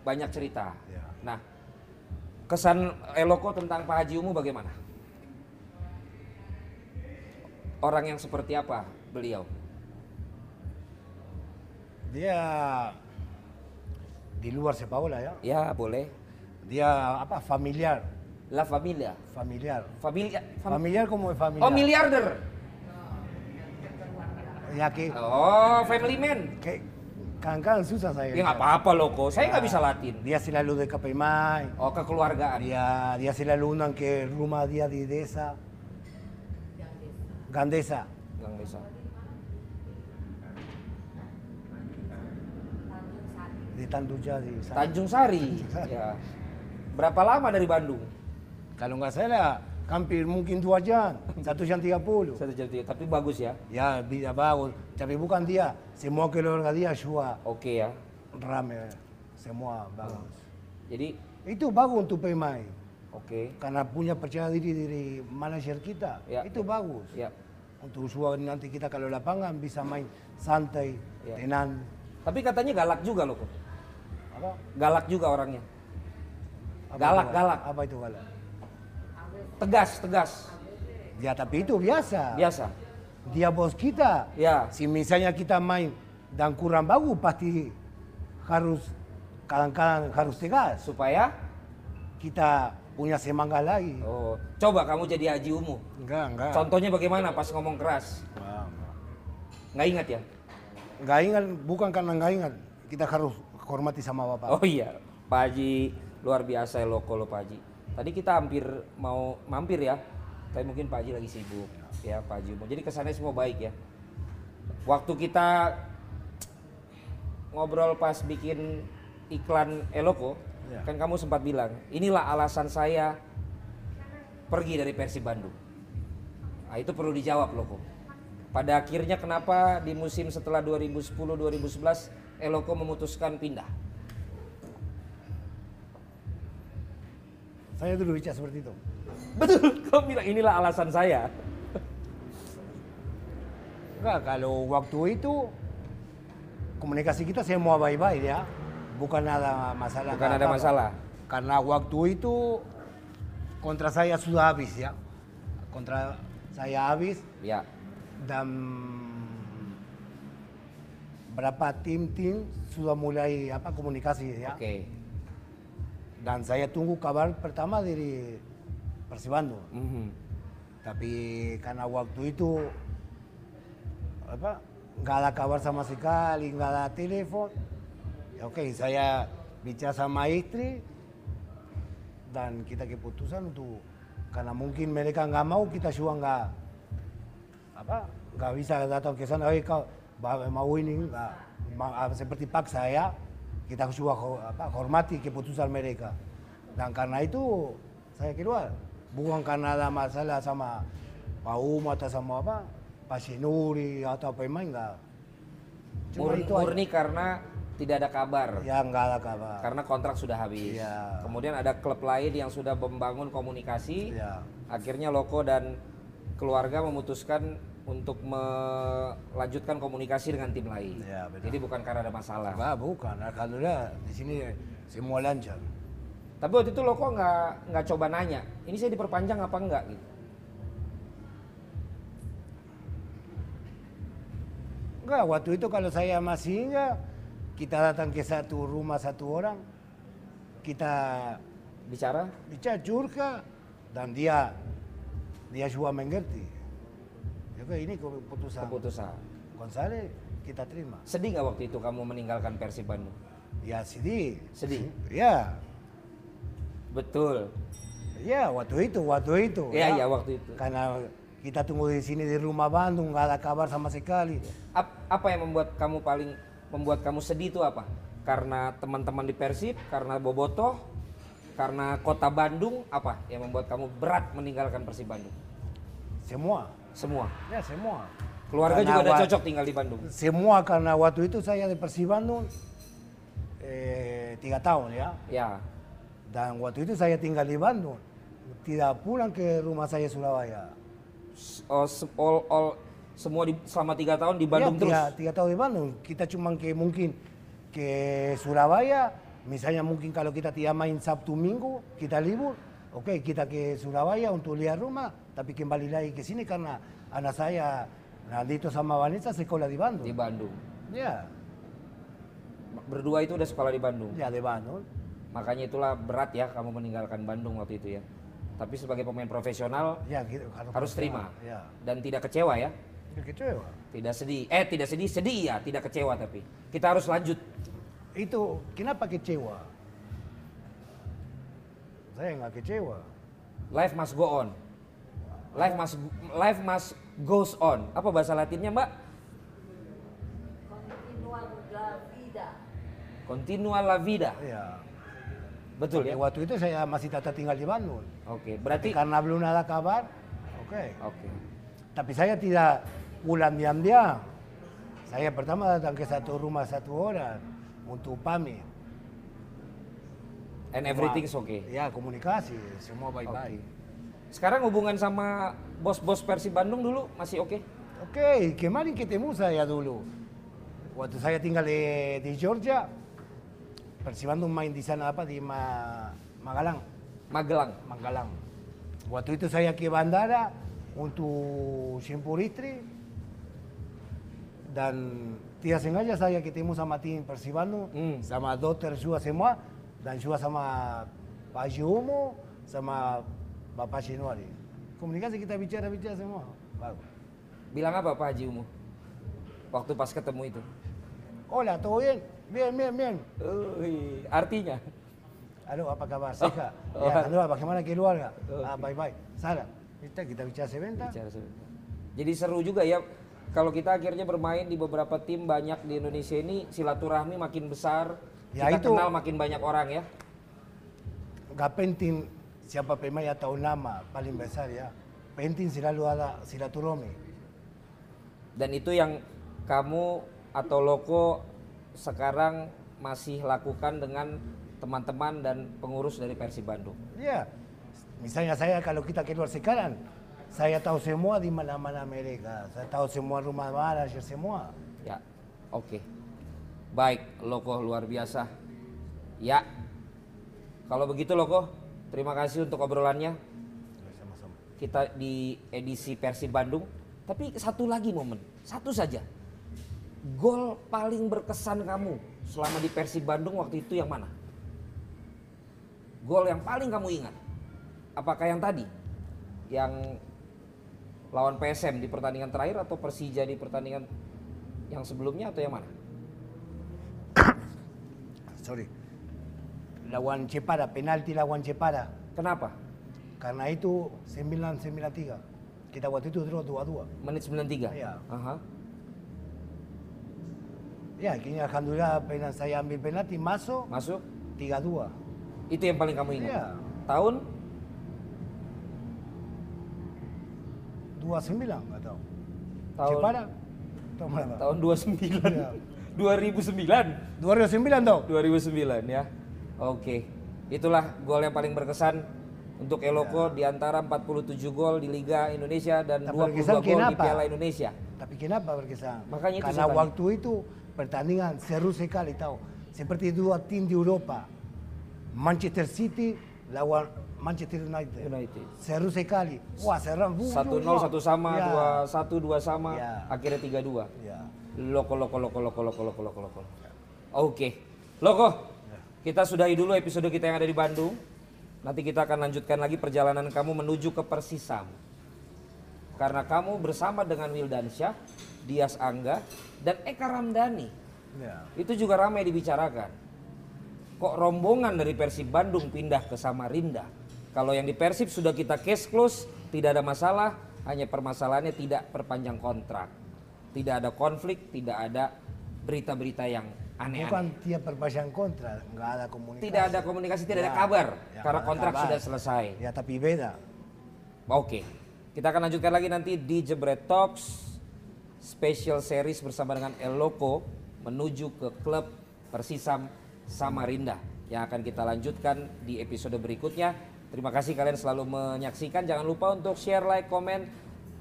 B: banyak cerita.
C: Ya.
B: Nah, kesan Eloko tentang Pak Haji Umu bagaimana? Orang yang seperti apa beliau?
C: dia di luar sepak bola ya
B: Ya boleh.
C: dia apa familiar
B: La familia.
C: familiar
B: Familia. fam-
C: familiar como es
B: Oh
C: familiar
B: miliarder.
C: ya que,
B: Oh family man.
C: que Kadang-kadang susah saya.
B: Ya nggak apa-apa loko, saya nggak bisa Latin.
C: Dia selalu de Capemay.
B: Oh kekeluargaan.
C: Dia, dia selalu undang ke rumah dia di desa. Gandesa.
B: Gang desa.
C: Di Tanduja. Di sana.
B: Tanjung Sari. Ya. Berapa lama dari Bandung?
C: Kalau nggak salah, hampir mungkin dua jam. Satu jam tiga puluh.
B: Satu jam tiga, tapi bagus ya.
C: Ya, vida bagus. Tapi bukan dia. Semua keluarga dia juga
B: Oke ya.
C: rame. Semua bagus.
B: Jadi
C: Itu bagus untuk pemain.
B: oke.
C: Karena punya percaya diri dari manajer kita.
B: Ya.
C: Itu bagus.
B: Ya.
C: Untuk usaha nanti kita kalau lapangan bisa main santai,
B: Ya.
C: tenang.
B: Tapi katanya galak juga loko.
C: Apa?
B: Galak juga orangnya.
C: Apa
B: Galak,
C: itu
B: galak.
C: Apa itu galak?
B: Tegas, tegas.
C: Ya tapi itu biasa.
B: Biasa.
C: Dia bos kita.
B: Ya.
C: Si misalnya kita main dan kurang bagus pasti harus kadang-kadang harus tegas.
B: Supaya
C: Kita punya semangat lagi.
B: oh, coba kamu jadi haji umum.
C: Enggak, enggak.
B: Contohnya bagaimana pas ngomong keras? Nggak ingat ya?
C: Enggak ingat, bukan karena enggak ingat. Kita harus hormati sama bapak.
B: Oh iya, Pak Haji luar biasa loko lo Pak Haji. Tadi kita hampir mau mampir ya, tapi mungkin Pak Haji lagi sibuk ya Pak Haji. Jadi kesannya semua baik ya. Waktu kita ngobrol pas bikin iklan Eloko,
C: Ya.
B: kan kamu sempat bilang, inilah alasan saya pergi dari Persib Bandung. Nah, itu perlu dijawab Loko. Pada akhirnya kenapa di musim setelah 2010-2011 Eloko memutuskan pindah?
C: Saya dulu bicara seperti itu.
B: Betul, kau bilang inilah alasan saya.
C: Enggak, kalau waktu itu komunikasi kita semua baik-baik ya. Bukan ada masalah.
B: Bukan ada
C: apa-apa.
B: masalah.
C: Karena waktu itu kontra saya sudah habis ya. Kontra saya habis
B: Ya,
C: dan berapa tim-tim sudah mulai apa komunikasi ya.
B: oke.
C: Dan saya tunggu kabar pertama dari Persib Bandung.
B: Mhm.
C: Tapi karena waktu itu apa nggak ada kabar sama sekali, nggak ada telepon. Ya, Oke, saya bicara sama istri dan kita keputusan untuk karena mungkin mereka nggak mau kita juga nggak apa nggak bisa datang ke sana. "Eh, kau ba- mau ini nggak Ma- ah, seperti paksa ya kita juga ho- apa, hormati keputusan mereka. Dan karena itu saya keluar bukan karena ada masalah sama Pak Uma atau sama apa Pak Sinuri atau pemain nggak. Cuma
B: Murni,
C: itu aja.
B: murni karena tidak ada kabar.
C: Ya nggak ada kabar.
B: Karena kontrak sudah habis.
C: Iya.
B: Kemudian ada klub lain yang sudah membangun komunikasi.
C: Ya.
B: Akhirnya Loko dan keluarga memutuskan untuk melanjutkan komunikasi dengan tim lain.
C: Iya, benar.
B: Jadi bukan karena ada masalah.
C: Nggak, bukan. Alhamdulillah di sini semua lancar.
B: Tapi waktu itu Loko nggak nggak coba nanya. Ini saya diperpanjang apa enggak gitu.
C: Enggak, waktu itu kalau saya masih ingat, kita datang ke satu rumah satu orang, kita
B: Bicara
C: bicara curka dan dia dia juga mengerti. Ya oke, ini keputusan
B: keputusan.
C: González kita terima.
B: Sedih nggak waktu itu kamu meninggalkan Persib Bandung?
C: Ya sedih.
B: Sedih.
C: Ya,
B: Betul.
C: ya waktu itu, waktu itu.
B: Iya, iya, waktu itu.
C: Karena kita tunggu di sini di rumah Bandung, nggak ada kabar sama sekali.
B: Ya. Ap- apa yang membuat kamu paling membuat kamu sedih itu apa? Karena teman-teman di Persib, karena Bobotoh, karena kota Bandung, apa yang membuat kamu berat meninggalkan Persib Bandung?
C: Semua.
B: Semua.
C: Ya semua.
B: Keluarga
C: Karena
B: juga udah
C: wa-
B: cocok tinggal di Bandung.
C: Semua karena waktu itu saya di Persib Bandung eh, tiga tahun ya.
B: Ya.
C: Dan waktu itu saya tinggal di Bandung. Tidak pulang ke rumah saya Surabaya.
B: S- oh, se- all- all- semua di- selama tiga tahun di Bandung
C: Ya,
B: terus.
C: Tiga, tiga tahun di Bandung. Kita cuma ke mungkin ke Surabaya. Misalnya mungkin kalau kita tidak main Sabtu Minggu, kita libur. Oke, kita ke Surabaya untuk lihat rumah. Tapi kembali lagi ke sini karena anak saya Nandito sama Vanessa sekolah di Bandung.
B: Di Bandung.
C: Ya,
B: Berdua itu udah sekolah di Bandung.
C: ya di Bandung.
B: Makanya itulah berat ya kamu meninggalkan Bandung waktu itu ya. Tapi sebagai pemain profesional
C: Ya, gitu, harus,
B: harus terima
C: Ya.
B: dan tidak kecewa ya.
C: Estoy kecewa.
B: Tidak sedih. Eh, tidak sedih, sedih ya, tidak kecewa tapi. Kita harus lanjut.
C: Itu kenapa kecewa? Saya nggak kecewa.
B: Life must go on. Life must life must goes on. Apa bahasa Latinnya, Mbak? Continua la vida.
C: Ya.
B: Betul ya?
C: Di waktu itu saya masih tata tinggal di Bandung.
B: Oke, berarti oke.
C: Karena belum ada kabar, oke. Tapi saya tidak pulang diam-diam. Saya pertama datang ke satu rumah satu orang untuk pamit.
B: And everything's okay.
C: Ya komunikasi, semua baik-baik.
B: Oke. Sekarang hubungan sama bos-bos Persib Bandung dulu masih oke?
C: Oke, kemarin ketemu saya dulu. Waktu saya tinggal di, di Georgia, persibandung main di sana apa di Ma- Magalang,
B: Magelang.
C: Manggalang. Waktu itu saya ke bandara untuk jemput istri dan tidak sengaja saya ketemu sama tim Persibandung,
B: Hmm.
C: sama dokter juga semua dan juga sama Pak Jumo, sama Bapak Sinuari. Komunikasi kita bicara-bicara semua. Bagus.
B: Bilang apa Pak Haji Umu? Waktu pas ketemu itu.
C: Hola, ¿todo bien? Bien, bien, bien.
B: Ui, artinya?
C: Aló, apa kabar? Seja.
B: Oh,
C: Ya,
B: oh.
C: aló, bagaimana keluarga?
B: Oh,
C: Ah, bye bye. Sara, kita kita bicara sebentar.
B: Bicara sebentar. Jadi seru juga ya kalau kita akhirnya bermain di beberapa tim banyak di Indonesia ini silaturahmi makin besar,
C: Ya,
B: kita
C: itu-
B: kenal makin banyak orang ya.
C: Gak penting siapa pemain atau nama paling besar ya. Penting selalu ada silaturahmi.
B: Dan itu yang kamu atau Loko sekarang masih lakukan dengan teman-teman dan pengurus dari Persib Bandung.
C: Ya, misalnya saya kalau kita keluar sekarang, saya tahu semua di mana-mana mereka. Saya tahu semua rumah manajer semua.
B: Ya, oke. Baik, Loko luar biasa. Ya, kalau begitu Loko, terima kasih untuk obrolannya.
C: Sama-sama.
B: Kita di edisi Persib Bandung. Tapi satu lagi momen, satu saja. Gol paling berkesan kamu selama di Persib Bandung waktu itu yang mana? Gol yang paling kamu ingat? Apakah yang tadi? Yang lawan PSM di pertandingan terakhir atau Persija di pertandingan yang sebelumnya atau yang mana?
C: Sorry. Lawan Cepara, penalti lawan Cepara.
B: Kenapa?
C: Karena itu 993. Kita waktu itu draw 2-2.
B: Menit 93?
C: Iya.
B: Aha.
C: Ya, akhirnya alhamdulillah pena- saya ambil penalti masuk
B: Masuk?
C: 3-2.
B: Itu yang paling kamu ingat?
C: Iya.
B: Tahun?
C: 29 nggak tahu.
B: Tahun.
C: Cepara? Tahun berapa?
B: Tahun 29.
C: Iya.
B: 2009?
C: 2009 dong.
B: 2009 ya. Oke. Itulah gol yang paling berkesan untuk Eloko di antara 47 gol di Liga Indonesia dan
C: Tak
B: 22
C: berkesan
B: gol di
C: kenapa?
B: Piala Indonesia.
C: Tapi kenapa berkesan?
B: Makanya itu
C: Karena
B: saya tanya.
C: waktu itu pertandingan seru sekali tahu. Seperti dua tim di Eropa. Manchester City lawan Manchester United.
B: United.
C: Seru sekali. Wah, serang.
B: 1-0 satu sama,
C: Ya.
B: 2-1 dua sama,
C: Iya.
B: akhirnya 3-2.
C: Ya.
B: Loko loko loko loko loko loko loko loko. Oke. Loko. Kita sudahi dulu episode kita yang ada di Bandung. Nanti kita akan lanjutkan lagi perjalanan kamu menuju ke Persisam. Karena kamu bersama dengan Wildansyah, Dias Angga, dan Eka Ramdhani.
C: Ya.
B: Itu juga ramai dibicarakan. Kok rombongan dari Persib Bandung pindah ke Samarinda? Kalau yang di Persib sudah kita case close, tidak ada masalah, hanya permasalahannya tidak perpanjang kontrak. Tidak ada konflik, tidak ada berita-berita yang
C: Bukan
B: aneh-aneh.
C: tiap perpanjangan kontra, nggak ada komunikasi.
B: Tidak ada komunikasi, tidak ada
C: Ya.
B: kabar
C: Ya,
B: karena
C: nggak ada
B: kontrak
C: kabar.
B: sudah selesai.
C: Ya tapi beda.
B: Oke, kita akan lanjutkan lagi nanti di Jebret Talks special series bersama dengan Eloko menuju ke klub Persisam Samarinda yang akan kita lanjutkan di episode berikutnya. Terima kasih kalian selalu menyaksikan. Jangan lupa untuk share, like, komen,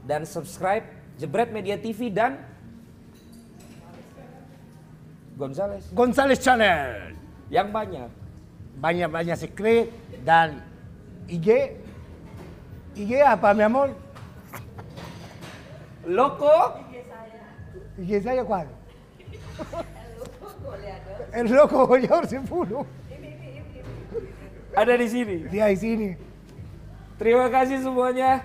B: dan subscribe Jebret Media TV dan Gonzales
C: Gonzales Channel.
B: yang banyak.
C: Banyak-banyak secret dan IG. IG apa mi amor?
B: Loko
C: IG saya cuál? El loco goleador. El loco goleador
B: ada di sini.
C: Dia di sini.
B: Terima kasih semuanya.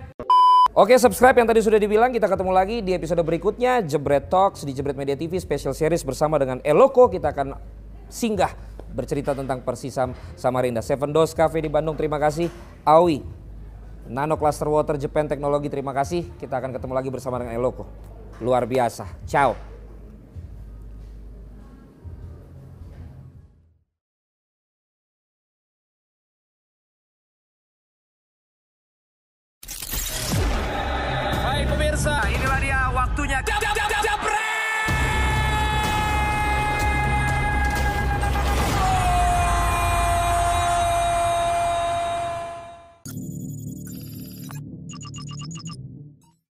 B: Oke, subscribe yang tadi sudah dibilang. Kita ketemu lagi di episode berikutnya. Jebret Talks di Jebret Media TV Special Series bersama dengan Eloko. Kita akan singgah bercerita tentang Persisam Samarinda. Seven Doors Cafe di Bandung. Terima kasih. Awi, Nano Cluster Water Japan Teknologi. Terima kasih. Kita akan ketemu lagi bersama dengan Eloko. Luar biasa. Ciao.